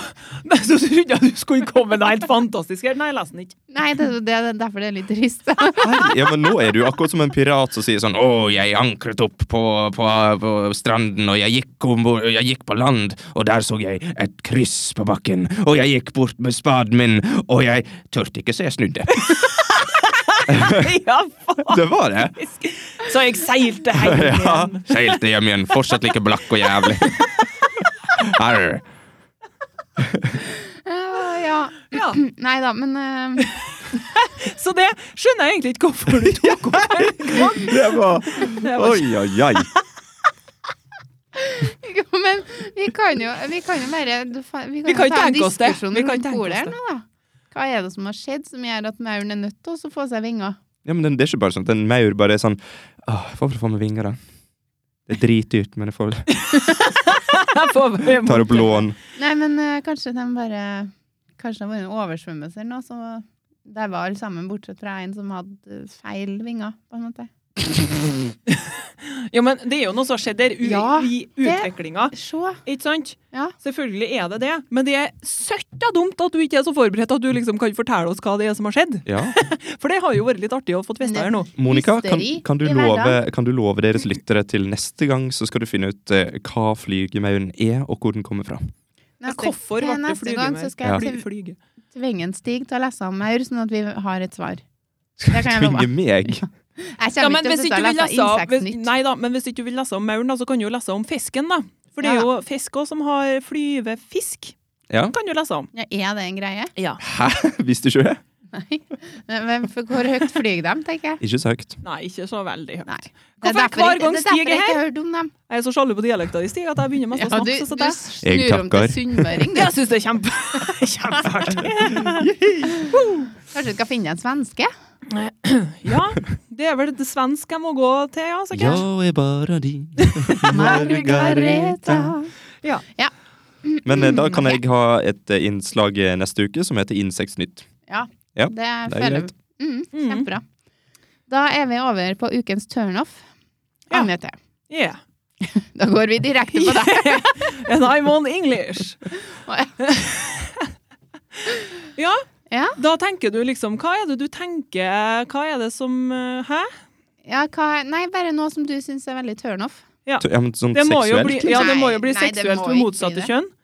S2: Nei, så trodde jeg du skulle komme med noe helt fantastisk her. Nei, jeg leser den ikke.
S1: Nei, det, det, det er derfor det er litt
S2: [laughs]
S1: trist. [laughs]
S3: Herre- Ja, men nå er du akkurat som en pirat som sier sånn Å, jeg ankret opp på, på, på stranden, og jeg gikk, ombord, jeg gikk på land, og der så jeg et kryss på bakken, og jeg gikk bort med spaden min, og jeg turte ikke, så jeg snudde. [laughs]
S2: Ja, faen.
S3: Det var det.
S2: Så jeg seilte hjem
S3: Ja,
S2: igjen.
S3: Seilte hjem igjen, fortsatt like blakk og jævlig. Arr.
S1: Eh, ja.
S2: Ja.
S1: Nei da, men eh, [laughs]
S2: Så det skjønner jeg egentlig ikke hvorfor du tok opp.
S3: Det var
S2: Det var
S3: Oi, oi, oi.
S1: Jo, men vi kan jo, vi kan jo bare du fa- Vi kan,
S2: Vi
S1: jo
S2: kan
S1: ta en
S2: tenke oss det.
S1: diskusjon
S2: Vi kan
S1: rundt
S2: tenke
S1: bordet
S2: oss
S1: her nå,
S2: det.
S1: da. Hva er det som har skjedd som gjør at mauren er nødt til å få seg vinger?
S3: Ja, men den, det er ikke bare sånn at en maur bare er sånn Åh, jeg får vel få meg vinger, da. Det er dritdyrt, men jeg får vel
S2: Jeg får- jeg må-
S3: tar opp lån.
S1: Nei, men eh, kanskje de bare Kanskje det har vært en oversvømmelse eller noe, så der var alle sammen, bortsett fra en som hadde eh, feil vinger, på en måte.
S2: Ja, men det er jo noe som har skjedd der u
S1: Ja,
S2: i utviklinga.
S1: Se!
S2: Ikke sant?
S1: Ja.
S2: Selvfølgelig er det det, men det er søtta dumt at du ikke er så forberedt at du liksom kan fortelle oss hva det er som har skjedd.
S3: Ja.
S2: For det har jo vært litt artig å få testa her nå.
S3: Monica, kan,
S1: Hysteri
S3: kan, du
S1: i
S3: love,
S1: hverdagen.
S3: kan du love deres lyttere til neste gang, så skal du finne ut eh, hva flygemauren er, og hvor den kommer fra.
S2: Hvorfor
S1: til
S2: ble det
S1: neste gang så skal
S3: Ja.
S1: jeg til
S2: flygemeir? Flyge.
S1: tvinge en Stig til å lese om maur, sånn at vi har et svar. Det kan jeg love.
S3: Tvinge meg?
S2: [laughs]
S1: Jeg
S2: Ja,
S1: kommer
S2: men hvis
S1: ikke
S2: ikke
S1: til å lese
S2: du vil lese om, hvis,
S1: Insektsnytt.
S2: nei da, men hvis ikke du vil lese om mauren, da, så kan du jo lese om fisken, da. For det
S1: Ja
S2: er jo fisk også som har flyvefisk.
S3: Ja.
S2: Den kan du lese om.
S1: Ja, er det en greie?
S2: Ja.
S3: Hæ? Visste ikke du det?
S1: Nei. Men men for hvor høyt flyr de, tenker jeg.
S3: Ikke så høyt.
S2: Nei, ikke så veldig høyt.
S1: Nei.
S2: Hvorfor er hver gang
S1: Det er derfor
S2: Stig er
S1: jeg ikke
S2: her?
S1: har hørt om dem.
S2: Jeg er så sjalu på dialekta di, Stig, at jeg begynner
S1: Ja,
S2: mest å
S1: du,
S2: snakke sånn.
S1: du
S2: der.
S1: snur om
S3: takker.
S1: til sunnmøring. du.
S2: Jeg syns det er kjempe, [laughs] kjempeartig.
S1: Kanskje du skal finne en svenske? [laughs]
S2: Ja, det er vel det svenske jeg må gå til, ja, sikkert.
S3: er bare din
S2: Ja.
S3: Men eh, da kan jeg ha et eh, innslag eh, neste uke som heter Insektsnytt.
S1: Ja,
S3: Ja,
S1: det,
S3: det er
S1: føler
S3: greit.
S1: Mm,
S2: Mm.
S1: Kjempebra. Da er vi over på ukens turnoff.
S2: Ja.
S1: Anette,
S2: Yeah.
S1: da går vi direkte på [laughs] deg.
S2: [laughs] And I'm on English. [laughs] ja.
S1: Ja.
S2: Da tenker du liksom Hva er det du tenker Hva er det som eh, Hæ?
S1: Ja, hva, nei, bare noe som du syns er veldig turnoff.
S2: Ja.
S3: Ja, men sånn
S2: Det må jo bli,
S3: seksuelt.
S2: ja, det må jo bli
S1: Nei, nei, det
S2: seksuelt
S1: må
S2: med
S1: ikke
S2: motsatte
S1: bli det.
S2: kjønn.
S1: Nei,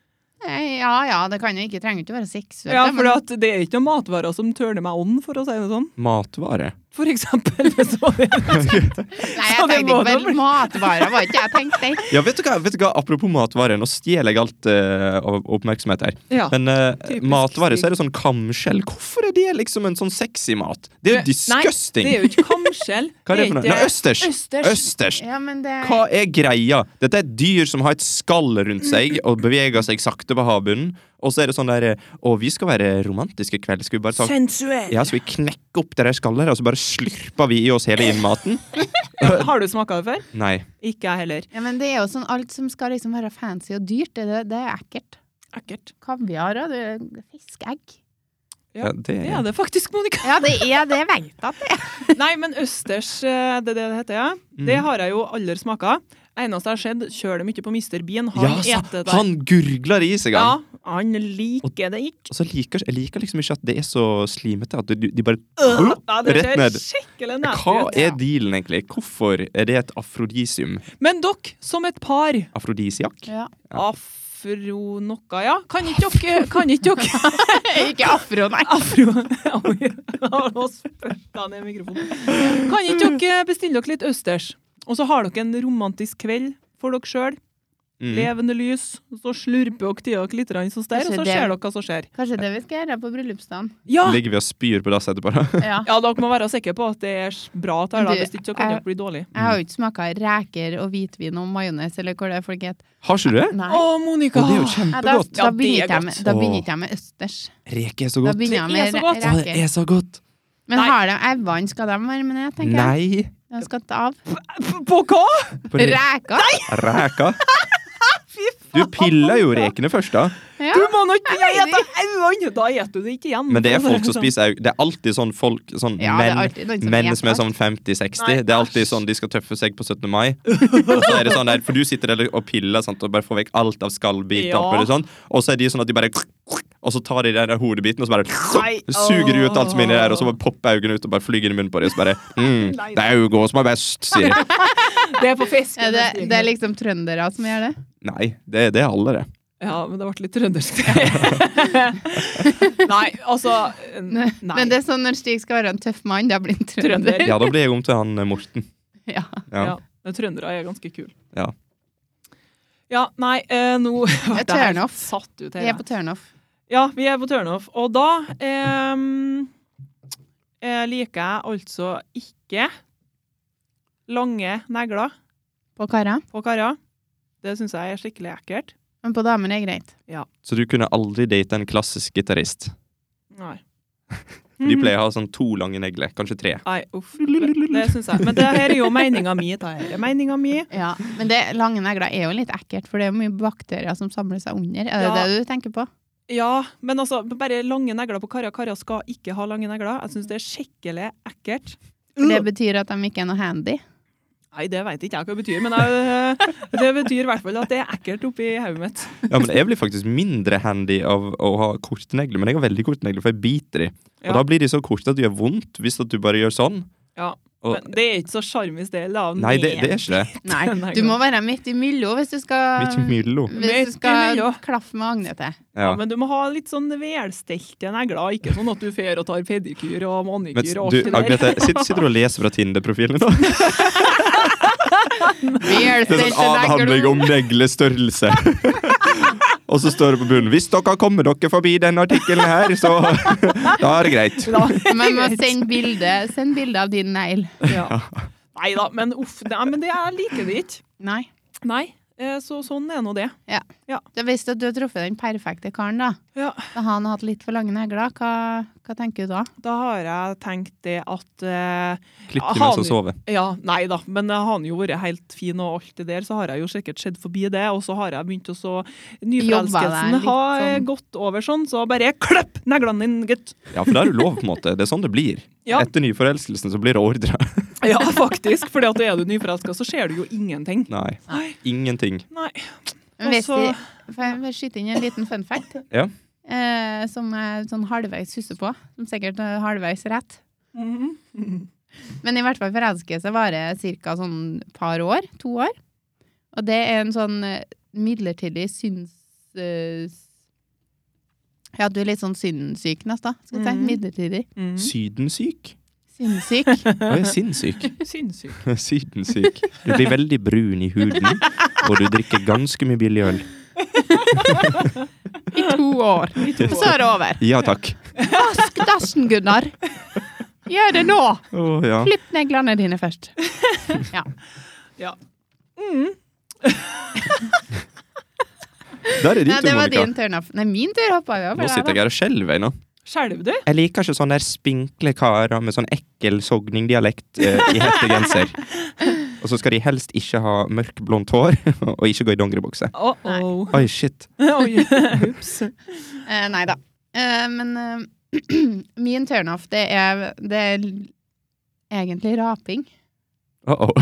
S1: Eh, Ja ja, det kan jo ikke trenger ikke å være seksuelt.
S2: Ja,
S1: da,
S2: for
S1: men-
S2: at det er ikke noen matvarer som tørner meg ånden, for å si det sånn.
S3: Matvare.
S2: For eksempel. Så
S3: [laughs]
S2: det,
S1: Nei,
S2: så
S1: jeg
S2: det
S1: tenkte
S2: må
S1: ikke
S2: da
S1: på
S2: bli-
S1: matvarer, var ikke jeg tenkte. [laughs]
S3: Ja, vet du hva? Vet du hva? Apropos matvare, nå stjeler jeg alt eh, av oppmerksomhet her.
S2: ja.
S3: Men uh,
S2: Typisk
S3: matvare,
S2: Stig.
S3: så er det sånn kamskjell. Hvorfor er det liksom en sånn sexy mat? Det er jo disgusting!
S2: Nei, det er jo ikke kamskjell.
S3: [laughs] Hva er det for noe?
S2: ikke-
S3: Nei, østers!
S2: Østers.
S3: Østers!
S1: Ja, men det
S3: Hva er greia? Dette er et dyr som har et skall rundt seg og beveger seg sakte på havbunnen. Og så er det sånn der eh, Å, vi skal være romantiske i kveld. Skal vi bare ta
S2: Sensuell.
S3: Ja, skal vi knekke opp det der skallet, og så bare slurper vi i oss hele innmaten?
S2: Har du smaka det før?
S3: Nei.
S2: Ikke jeg heller.
S1: Ja, men det er jo sånn alt som skal liksom være fancy og dyrt, det, det, det er ekkelt.
S2: Ekkelt.
S1: Kaviar og det- fiskeegg.
S2: Ja,
S3: Ja, det
S2: Det
S3: er
S2: er det faktisk, Monica.
S1: Ja, det er [laughs] det, jeg vet at det er.
S2: Nei, men østers, eh, det er det det heter, ja.
S3: Mm.
S2: Det har jeg jo aldri smaka. Eneste jeg har sett, kjører det mye på Mr. Bean. Han
S3: Ja, sa-
S2: eter det.
S3: han gurgler i seg, han.
S2: ja, han liker det ikke.
S3: Og så liker jeg liker liksom ikke at det er så slimete. At du, de bare
S2: Ja, det
S3: Rett ned.
S2: ser skikkelig
S3: Hva
S2: nasty ut.
S3: er dealen, egentlig? Hvorfor er det et afrodisium?
S2: Men dere, som et par
S3: Afrodisiak?
S1: Ja.
S3: Ja.
S2: Afro noe, ja. Kan ikke dere Kan ikke dere
S1: [laughs]
S2: [laughs]
S1: Ikke afro, nei.
S2: Afro Oi, [laughs] Nå spurte han i mikrofonen. Kan ikke dere bestille dere litt østers? Og så har dere en romantisk kveld for dere sjøl.
S3: Mm.
S2: levende lys. Så slurper dere til dere litt, rann så der, og
S1: Kanskje
S2: så
S1: det-
S2: ser dere hva som skjer.
S1: Kanskje det vi skal gjøre på bryllupsdagen.
S2: Ja!
S3: Ligger vi og spyr på dass etterpå, da?
S1: Ja.
S2: ja, dere må være sikre på at det er bra der, da.
S1: Du, eh,
S2: hvis ikke så kan
S1: jeg-
S2: dere bli dårlig.
S1: Jeg
S3: Mm.
S1: har jo ikke smaka reker og hvitvin og majones eller hva det er folk heter.
S3: Har ikke du det?
S1: Nei.
S2: Å, Monica!
S3: Å, det er jo
S1: Nei, da,
S3: kjempegodt.
S1: da,
S2: Ja, det er
S1: begynner ikke jeg med,
S2: godt.
S1: da begynner ikke jeg med østers.
S3: Reke er så
S1: Da
S3: godt.
S1: begynner jeg
S2: Det er
S1: med
S2: så
S1: re-
S2: godt.
S3: Å, det
S1: reker.
S3: er så godt.
S1: Men
S2: Nei.
S1: har de evnen? Skal de være med ned, tenker jeg?
S3: Nei.
S1: De skal ta av.
S2: P- På hva?!
S3: På re
S1: Reker?
S3: reka.
S1: [laughs]
S2: Fy faen!
S3: Du piller jo rekene først, da.
S1: Ja.
S2: Du må nå ikke
S1: Jeg vet
S2: ete øynene! Da eter du [laughs] det ikke igjen.
S3: [laughs] Men det er folk som spiser au- Det er alltid sånn folk sånn
S1: ja, det er
S3: menn,
S1: alltid noen som
S3: menn som er
S1: alt.
S3: sånn 50-60.
S2: Nei,
S3: Det er alltid
S2: æsj.
S3: sånn de skal tøffe seg på 17. mai. Og så er det sånn der, For du sitter der og piller sant, og bare får vekk alt av skallbiter.
S2: Ja.
S3: oppi det Sånn. Og så er de sånn at de bare Og så tar de den der hodebiten og så bare
S2: Nei,
S3: suger de ut alt som er inni der, og så
S2: åh.
S3: bare popper øynene ut og bare flyr inn i munnen på dem. Og så bare
S2: Nei,
S3: mm,
S2: nei.
S3: Det er Hugo som er best, sier de.
S2: Det er på fisk.
S1: Ja, det, det er liksom trøndere som gjør det.
S3: Nei, det, det er alle, det.
S2: Ja, men det ble litt trøndersk. [laughs] nei, altså Nei.
S1: Men det er sånn når Stig skal være en tøff mann, da blir han trønder.
S2: Trønder.
S3: Ja, da blir jeg om til han eh, Morten.
S1: [laughs] Ja.
S3: Ja.
S2: Ja, men Trøndere er ganske kule.
S3: Ja.
S2: Ja, nei, eh, nå [laughs]
S1: Jeg
S2: Det her
S1: turn off.
S2: Satt ut
S1: Vi
S2: her.
S1: er på turnoff.
S2: Ja, vi er på turnoff. Og da ehm, eh, liker jeg altså ikke lange negler
S1: På karer.
S2: på karer. Det syns jeg er skikkelig ekkelt.
S1: Men på damer er det greit.
S3: Så du kunne aldri date en klassisk gitarist.
S2: Nei. Mm.
S3: De pleier å ha sånn to lange negler, kanskje tre.
S2: Mhm. Nei, uff. Det syns jeg. Men det her er jo meninga mi. Det her er meninga mi.
S1: Ja. Men det, lange negler er jo litt ekkelt, for det er jo mye bakterier som samler seg under. Er det
S2: Ja.
S1: det du tenker på?
S2: Ja, men altså, bare lange negler på karer. Karer skal ikke ha lange negler. Jeg syns det er skikkelig ekkelt.
S1: For det betyr at de ikke er noe handy.
S2: Nei, det veit ikke jeg hva det betyr, men jeg, det betyr i hvert fall at det er ekkelt oppi hodet mitt.
S3: Ja, men Jeg blir faktisk mindre handy av å ha korte negler, men jeg har veldig korte negler, for jeg biter i. Og
S2: Ja.
S3: da blir de så korte at det gjør vondt hvis at du bare gjør sånn.
S2: Ja,
S3: Og,
S2: Men det er ikke så sjarmis del av
S3: nei, det, det er ikke det.
S1: Nei.
S2: Nei,
S1: Du
S2: godt.
S1: må være midt imellom hvis du skal
S3: Midt imellom.
S1: Hvis
S2: Midt
S1: du skal
S2: imellom.
S1: klaffe med Agnete.
S3: Ja.
S2: Men du må ha litt sånn velstelte negler, ikke sånn at du fer og tar pedikyr og
S3: Men
S2: manikyr og
S3: du,
S2: alt det der.
S3: Agnete, sitter, sitter du og leser fra Tinder-profilen nå? [laughs] Det er sånn avhandling om neglestørrelse. [laughs] Og så står det på bunnen Hvis dere kommer dere forbi denne artikkelen her, så [laughs] Da er det greit.
S2: Da-
S1: Man må sende bilde, send bilde av din negl.
S2: [laughs]
S3: [laughs]
S2: ja. Nei da, men uff. Nei, men det, jeg liker det ikke.
S1: Nei.
S2: Nei. eh, Så sånn er nå det.
S1: Da Hvis du har truffet den perfekte karen, da,
S2: Ja.
S1: da har han hatt litt for lange negler, hva, hva tenker du da?
S2: Da har jeg tenkt det at eh,
S3: Klipp til mens jeg sover.
S2: Ja, nei da, men jeg har jo vært helt fin og alt det der, så har jeg jo sikkert sett forbi det, og så har jeg begynt å så
S1: Jobba deg
S2: Nyforelskelsen
S1: litt
S2: har eh,
S1: sånn.
S2: gått over sånn, så bare klipp neglene dine, gutt!
S3: Ja, for da er du lov, på en måte. Det er sånn det blir.
S2: Ja.
S3: Etter nyforelskelsen så blir det ordre. [laughs]
S2: Ja, faktisk, for er du nyforelska, så ser du jo ingenting.
S3: Nei. Ingenting.
S2: Nei.
S1: Men Hvis
S2: Og så-
S1: de, får jeg bare skyte inn en liten fun fact?
S3: Ja.
S1: Eh, som jeg sånn halvveis husker på. Som sikkert er halvveis rett.
S2: Mhm.
S1: Men i hvert fall forelskelse varer ca. sånn par år. To år. Og det er en sånn eh, midlertidig syns... eh, s- ja, du er litt sånn synssyk nesten. Skal vi si.
S2: Mhm.
S1: Midlertidig.
S2: Mhm.
S3: Sydensyk?
S1: Synssyk.
S3: Å, jeg er [laughs] sinnssyk.
S2: Sinnssyk.
S3: Sydensyk. Du blir veldig brun i huden, og du drikker ganske mye billig øl.
S1: I to år. Og så er det over.
S3: Ja takk.
S1: Vask dassen, Gunnar! Gjør det nå!
S3: Å
S1: [laughs]
S3: ja.
S1: Klipp neglene dine først.
S2: Ja. Mhm.
S3: Der er din
S1: Nei,
S3: tur,
S1: det var
S3: Monica.
S1: din turnoff. Nei, min tur hoppa jo over.
S3: Nå sitter jeg her og skjelver ennå.
S2: Skjelver du?
S3: Jeg liker ikke sånne der spinkle karer med sånn ekkel sogningdialekt eh, i hettegenser. Og så skal de helst ikke ha mørkblondt hår, [laughs] og ikke gå i dongeribukse.
S2: Å, å.
S3: Oi, shit.
S2: [laughs] Oi, ups.
S1: Eh, nei da. Eh, men eh, [clears throat] min turnoff, det er, det er l- egentlig raping.
S3: Uh -oh.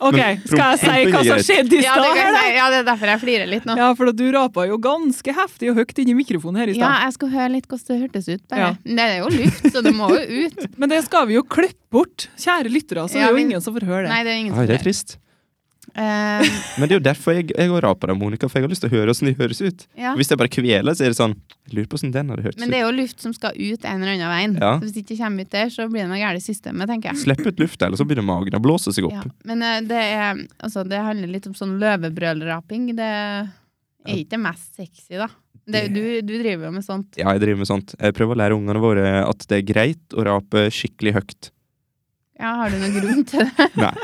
S2: OK,
S3: Men
S2: skal jeg si hva som
S3: promping er greit.
S2: skjedde [laughs] i
S1: Ja, det,
S2: stad?
S1: kan jeg
S2: her,
S1: si. ja, det er derfor jeg flirer litt
S2: da?
S1: nå.
S2: Ja, for du rapa jo ganske heftig og høyt inni mikrofonen her i stad.
S1: Ja, jeg skal høre litt hvordan det hørtes ut. Bare.
S2: Ja.
S1: Det er jo luft, så det må
S2: [laughs]
S1: jo ut.
S2: Men det skal vi jo klippe bort. Kjære lyttere, så
S1: Ja,
S2: er det jo
S1: men-
S2: ingen som får høre det.
S1: Nei, det er ingen
S3: Oi,
S1: som
S3: det er
S1: hører.
S3: trist.
S1: Eh,
S3: Men det er jo derfor jeg, jeg går av på den, Monica, for jeg har lyst til å høre hvordan de høres ut.
S1: ja.
S3: Hvis jeg bare kveler, så er det sånn Jeg lurer på hvordan den hadde hørtes
S1: Men
S3: ut.
S1: det er jo luft som skal ut en eller annen veien.
S3: Ja.
S1: Så hvis det ikke kommer ut der, så blir det noe galt i systemet, tenker jeg.
S3: Slipp ut lufta, eller så begynner magen å blåse seg
S1: Ja.
S3: opp.
S1: Men eh, det, er, altså, det handler litt om sånn løvebrølraping. Det er ikke det mest sexy, da. Det, du, du driver jo med sånt.
S3: Ja, jeg driver med sånt. Jeg prøver å lære ungene våre at det er greit å rape skikkelig høyt.
S1: Ja, har du noen grunn til det?
S3: Nei.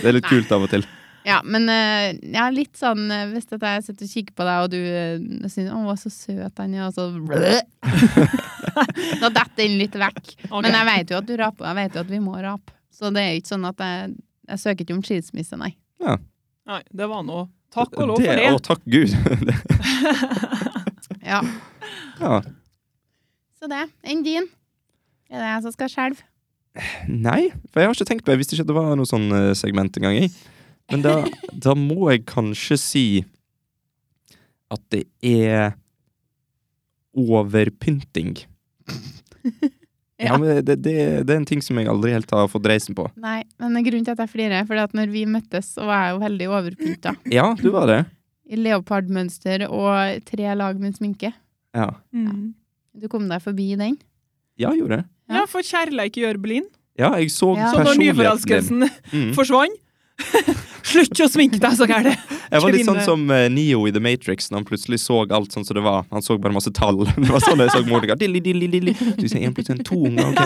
S3: Det er litt kult av og til.
S1: Ja, men eh, ja, litt sånn eh, Hvis at jeg sitter og kikker på deg, og du eh, syns 'Å, så søt han er', og så [laughs] Nå detter den litt vekk.
S2: Ok.
S1: Men jeg vet jo at du raper, og jeg vet jo at vi må rape. Så det er jo ikke sånn at jeg, jeg søker ikke om skilsmisse, nei.
S2: Nei, det var nå. Takk og lov
S3: Det-
S2: for
S3: Å,
S2: det.
S3: takk Gud. [laughs] Det-
S1: Ja,
S3: ja.
S1: Så det. Enn din? Er det jeg som skal skjelve?
S3: Nei, for jeg har ikke tenkt på Jeg visste ikke at det var noe sånn eh, segment engang. jeg. Men da, da må jeg kanskje si at det er
S2: [laughs]
S3: overpynting. Ja,
S1: Ja.
S3: men det, det, det er en ting som jeg aldri helt har fått reisen
S2: [laughs]
S3: på.
S1: Nei, men grunnen til at jeg flirer, er fordi at når vi møttes, så var jeg jo veldig overpynta.
S3: Ja, du var det.
S1: I leopardmønster og tre lag med sminke.
S3: Ja,
S2: Mm.
S1: Du kom deg forbi den.
S3: ja jeg gjorde det.
S2: Ja, for kjærleik gjør blind.
S3: Ja, jeg så
S1: Ja.
S2: Så når
S3: personligheten
S2: nyforelskelsen
S3: din. Mm.
S2: forsvant [laughs] Slutt å sminke deg så gærent!
S3: Jeg var litt
S2: kvinne-
S3: sånn som eh, Neo i The Matrix, når han plutselig så alt sånn som det var. Han så bare masse tall. [laughs] Det var sånn jeg så Monica. Dilli, dilli, dilli. Du sier 1 pluss 1, 2 unger.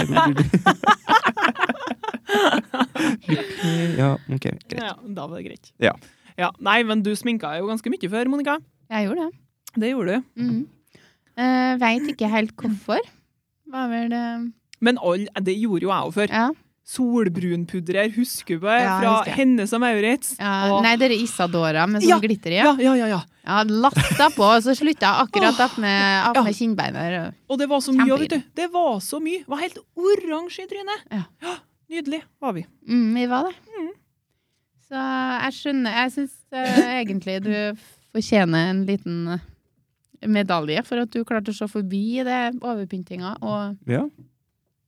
S3: Ok. Lykkelig. Ja, [laughs] ok. Greit.
S2: Ja, da var det greit.
S3: Ja.
S2: Ja, nei, men du sminka jo ganske mye før, Monica.
S1: Jeg gjorde det.
S2: Det gjorde du.
S1: Mm. Eh, Veit ikke helt hvorfor. Var vel det
S2: Men all, det gjorde jo jeg òg før.
S1: Ja.
S2: Solbrunpudrer, husker du det?
S1: Ja,
S2: Fra
S1: husker jeg.
S2: Hennes og Maurits.
S1: ja.
S2: Åh.
S1: Nei, det er Isadora med sånn
S2: Ja,
S1: glitter i. Ja.
S2: Ja, ja, ja, ja.
S1: Jeg hadde lasta på, og så slutta jeg akkurat opp med, opp
S2: Ja.
S1: med kinnbeinet.
S2: Og det var så mye,
S1: Kjempefin.
S2: vet du. Det var så mye. Det var helt oransje i trynet.
S1: Ja.
S2: Nydelig var vi.
S1: Mm, vi var det.
S2: Mm.
S1: Så jeg skjønner Jeg syns eh, egentlig du fortjener en liten eh, medalje for at du klarte å se forbi det overpyntinga og
S3: Ja,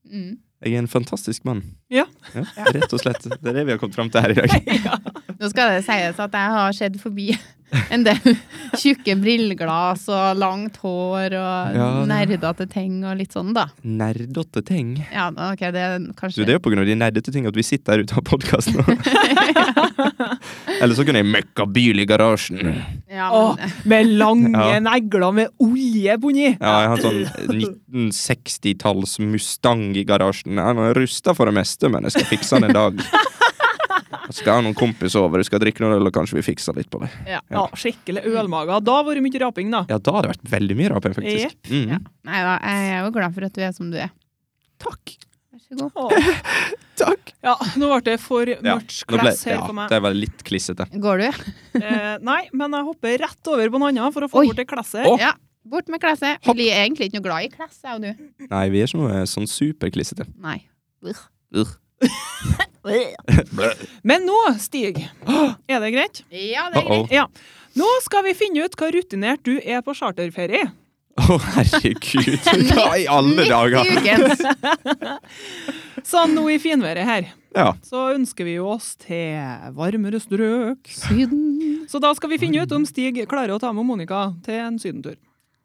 S1: mm.
S3: jeg er en fantastisk mann.
S2: Ja.
S3: Rett og slett. Det er det vi har kommet fram til her i dag.
S2: ja.
S1: Nå skal det sies at jeg har sett forbi en del tjukke brilleglass og langt hår og
S3: Ja, det-
S1: nerdete ting og litt sånn, da.
S3: Nerdete ting.
S1: Ja, da, ok, det er
S3: Du,
S1: kanskje
S3: det er jo på grunn av de nerdete ting at vi sitter her ute av podkasten.
S2: [laughs]
S3: Eller så kunne jeg møkka bil i garasjen.
S1: Ja,
S2: Åh,
S1: men,
S2: med lange
S3: [laughs] Ja.
S2: negler med olje bunni.
S3: Ja, jeg har sånn 1960-talls Mustang i garasjen. Han er rusta for det meste, men jeg skal fikse den en dag. Jeg skal ha noen kompiser over, jeg skal drikke noen øl, og kanskje vi fikser litt på det.
S1: ja.
S2: Ja, skikkelig ølmager. Da var det mye raping, da.
S3: Ja, da har det vært veldig mye raping, faktisk. Mm.
S1: Ja. Nei da, jeg er jo glad for at du er som du er.
S3: Takk.
S1: Vær så god.
S2: Åh.
S3: Takk.
S2: Ja, nå ble det for
S3: Ja,
S2: mørkt
S3: Nå ble,
S2: klass her
S3: ja,
S2: for meg.
S3: det var litt klissete.
S1: Går du?
S2: Eh, nei, men jeg hopper rett over på noe annet for å få
S1: Oi.
S2: bort det klasset.
S3: Å.
S1: Ja. Bort med klesse.
S3: Hopp.
S1: Vi er egentlig ikke noe glad i klesse, jeg og du.
S3: Nei, vi er ikke noe sånn superklissete.
S1: Nei.
S3: Urr.
S2: Men nå, Stig, [gasps] er det greit?
S1: Ja, det er
S3: Uh-oh.
S1: greit.
S2: Ja. Nå skal vi finne ut hva rutinert du er på charterferie.
S3: Å, herregud. [laughs] Hva i alle dager?
S1: Midt i
S2: [laughs]
S1: ukens.
S2: Så Sånn nå i finværet her,
S3: Ja.
S2: så ønsker vi jo oss til varmere strøk.
S1: Syden.
S2: Så da skal vi finne ut om Stig klarer å ta med Monica til en sydentur.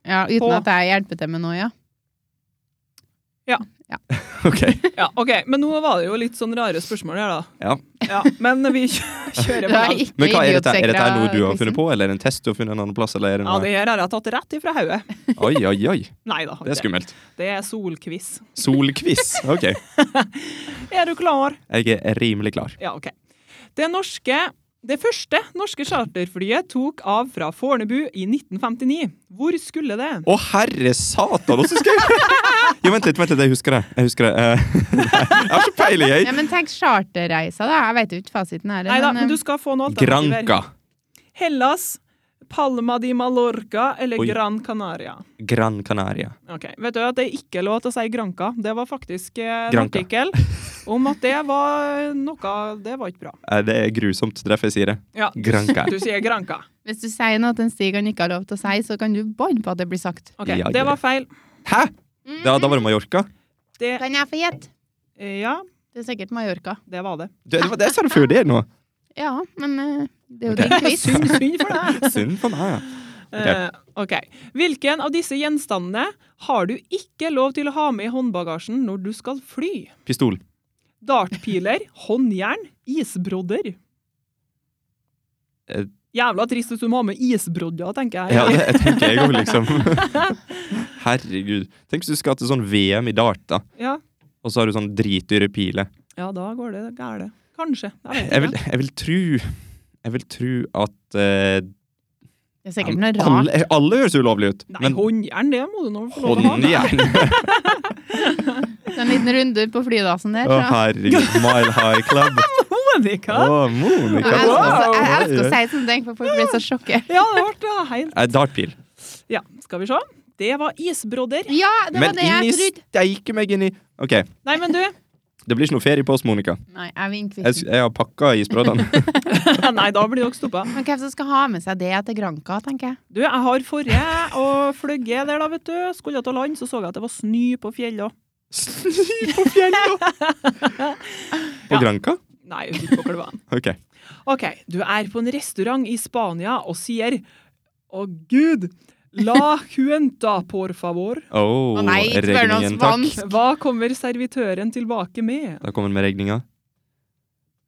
S1: Ja, uten
S2: På.
S1: at jeg hjelper til med noe, ja.
S3: Ok.
S2: [laughs] Ja, ok, Men nå var det jo litt sånn rare spørsmål her, da.
S3: Ja.
S2: [laughs] Ja, men vi kjø- kjører
S1: Du
S2: på.
S1: er
S2: den.
S1: ikke
S3: Men hva er dette? Er dette noe du har
S1: idiotsikra
S3: funnet på, eller er det en test du har funnet en annen plass? Eller er det
S2: Ja,
S3: noe?
S2: det her har jeg tatt rett ifra hodet.
S3: Oi, oi, oi.
S2: Nei da.
S3: Det er skummelt.
S2: det er solquiz.
S3: Solquiz. Ok.
S2: Er du klar?
S3: Jeg er rimelig klar.
S2: Ja, ok. Det norske det første norske charterflyet tok av fra Fornebu i 1959. Hvor skulle det?
S3: Å, herre satan, hvordan skal jeg [laughs] Jo, vent litt, vent litt, jeg husker det. Jeg husker det. Eh, [laughs] nei, jeg har ikke peiling,
S1: liksom. Ja,
S3: jeg.
S1: men tenk charterreiser, da. Jeg vet jo ikke fasiten her.
S2: Nei da, men du
S1: eh,
S2: skal få noe alternativer.
S3: Granca.
S2: Hellas, Palma di Mallorca eller
S3: Oi.
S2: Gran Canaria.
S3: Gran Canaria.
S2: Ok, Vet du at det er ikke lov til å si Granca? Det var faktisk eh, en
S3: Granca.
S2: artikkel om at det var noe Det var ikke bra.
S3: Eh, det er grusomt, det er derfor jeg sier det.
S2: Ja,
S3: Granca.
S2: Du sier Granca.
S1: Hvis du sier noe til en Stig han ikke har lov til å si, så kan du banne på at det blir sagt.
S2: Ok,
S3: Ja,
S2: Det
S3: ja.
S2: var feil.
S3: Hæ? Da, da var det Mallorca?
S2: Det
S1: Mm. Kan jeg få gjette?
S2: Ja,
S1: Det er sikkert Mallorca.
S2: det var det.
S3: Det, det, var- det sa du før det nå.
S1: Ja, men eh, det er jo din [laughs] quiz.
S2: [laughs] Synd, synd for deg.
S3: Synd for meg. ja.
S2: Eh, ok. Hvilken av disse gjenstandene har du ikke lov til å ha med i håndbagasjen når du skal fly?
S3: Pistol.
S2: Dartpiler,
S3: [laughs]
S2: håndjern, isbrodder.
S3: Eh.
S2: Jævla trist hvis du må ha med isbrodder, tenker jeg.
S3: Ja, det tenker jeg òg, liksom. [laughs] Herregud. Tenk hvis du skal til sånn VM i dart, da.
S2: Ja.
S3: Og så har du sånn dritdyre piler.
S2: Ja, da går det gærent. Kanskje. Jeg
S3: Jeg
S2: vet
S3: vil,
S2: ikke.
S3: jeg vil tru Jeg vil tru at eh,
S1: Det er sikkert noe rart.
S3: alle, alle høres ulovlig ut,
S2: Nei,
S3: men
S2: håndjern, det må du nå få lov til å
S1: [laughs]
S2: ha. med.
S3: håndjern
S1: Det er En liten runde på flydassen der.
S3: Å,
S1: fra-
S3: herregud. Mile High Club.
S2: Monica!
S3: Å,
S1: Jeg
S3: Monica.
S1: elsker også- jeg
S3: Oi,
S1: elsker å
S3: oi.
S1: si sånne ting, for folk blir så sjokkert.
S2: Ja, det ble det. Helt.
S3: Eh, Dartpil.
S2: Ja, skal vi se. Det var isbrodder.
S1: Ja, det var
S3: Men
S1: det
S3: inn i
S1: jeg trodde.
S3: steike meg inn i OK,
S2: Nei, men du. [laughs]
S3: det blir ikke noe ferie på oss, Monica.
S1: Nei, jeg vinner
S3: Jeg, s-
S1: quizen.
S3: jeg har pakka isbroddene. [laughs]
S2: Nei, da blir dere stoppa.
S1: Men hvem som skal ha med seg det til Granca, tenker jeg.
S2: Du, jeg har forrige og fløgge der, da, vet du. Skulle til land, så så jeg at det var snø på fjellet òg.
S3: Sly på
S1: [laughs]
S3: fjellet!
S2: Ja.
S3: På Granca?
S2: Nei, ute på klubben.
S3: OK.
S2: [laughs] OK, du er på en restaurant i Spania og sier Å, gud! La cuenta, por favor.
S3: Oh,
S1: Å nei, ikke spør noe om
S3: regningen, takk.
S1: spansk.
S2: Hva kommer servitøren tilbake med?
S3: Da kommer den med regninga.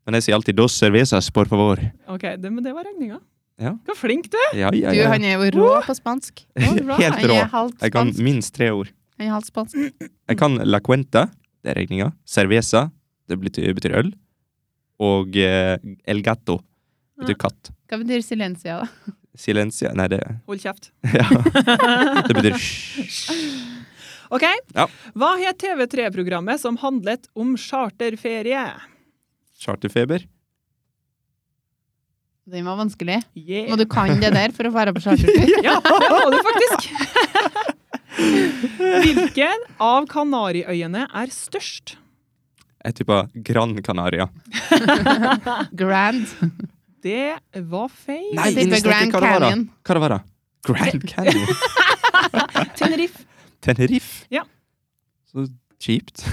S3: Men jeg sier alltid 'dos cervezas, por favor'.
S2: OK, det, men det var regninga.
S3: Ja.
S2: Hva flink du er!
S3: Ja, ja,
S1: Du,
S3: ja.
S1: han er jo rå på spansk.
S2: All right.
S3: [laughs] Helt
S1: Han
S3: rå.
S1: er halvt
S3: Jeg kan
S1: spansk.
S3: minst tre ord.
S1: Han er halvt spansk.
S3: Jeg kan la cuenta, det er regninga. Cerveza, det betyr, betyr øl. Og eh, el gato, betyr katt.
S1: Hva betyr silencia, da?
S3: Silencia Nei, det [laughs]
S2: Hold kjeft.
S3: ja. Det betyr hysj.
S2: OK.
S3: Ja.
S2: Hva het TV3-programmet som handlet om charterferie?
S3: Charterfeber.
S1: Den var vanskelig.
S2: Yeah.
S1: Må du kan det der for å være på
S3: [laughs]
S1: chartertur?
S2: Ja, det må du faktisk. Hvilken av Kanariøyene er størst?
S3: Jeg tipper Gran Canaria.
S1: Grand.
S2: Det var feil.
S3: Nei,
S1: tipper
S3: innstikk,
S1: Grand
S3: hva det var da?
S1: Canyon.
S3: Hva det var da? Grand Canyon?
S2: Tenerife.
S3: Tenerife?
S2: Ja.
S3: Så kjipt.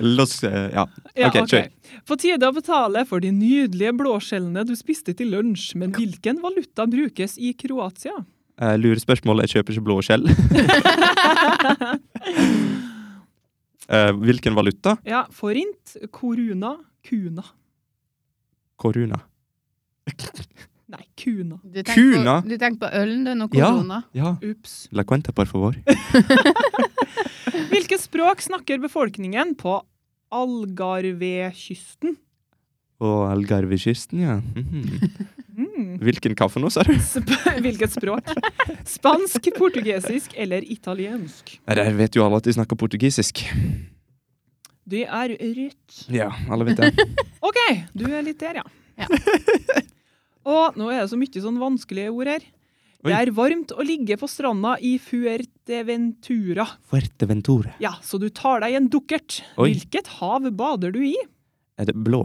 S3: Los eh, Ja.
S2: Ja,
S3: Ok,
S2: ok. På tide å betale for de nydelige blåskjellene du spiste til lunsj, men hvilken valuta brukes i Kroatia?
S3: Eh, Lurespørsmål. Jeg kjøper ikke blå
S2: [laughs]
S3: skjell. Eh, hvilken valuta?
S2: Ja, forint, koruna, kuna.
S3: Koruna.
S2: Nei, kuna.
S1: Du tenker
S3: Kuna.
S1: på, du tenker på ølen, du, nå
S3: Ja.
S1: korona.
S3: Ja.
S2: Ups.
S3: La cuenta, por favor.
S2: Hvilke språk snakker befolkningen på Algarve-kysten?
S3: Og Algarvekysten, ja. Mhm.
S2: Mm.
S3: Hvilken kaffe nå, sa du?
S2: Sp hvilket språk? Spansk, portugisisk eller italiensk?
S3: Nei, Der vet jo alle at de snakker portugisisk.
S2: Det er rødt.
S3: Ja, alle vet det.
S2: OK, du er litt der, ja.
S1: Ja.
S2: [laughs] og nå er det så mye sånn vanskelige ord her.
S3: Oi.
S2: Det er varmt å ligge på stranda i Fuerteventura.
S3: [laughs] Fuerteventura.
S2: Ja, så du tar deg en dukkert.
S3: Oi.
S2: Hvilket hav bader du i?
S3: Er det blå?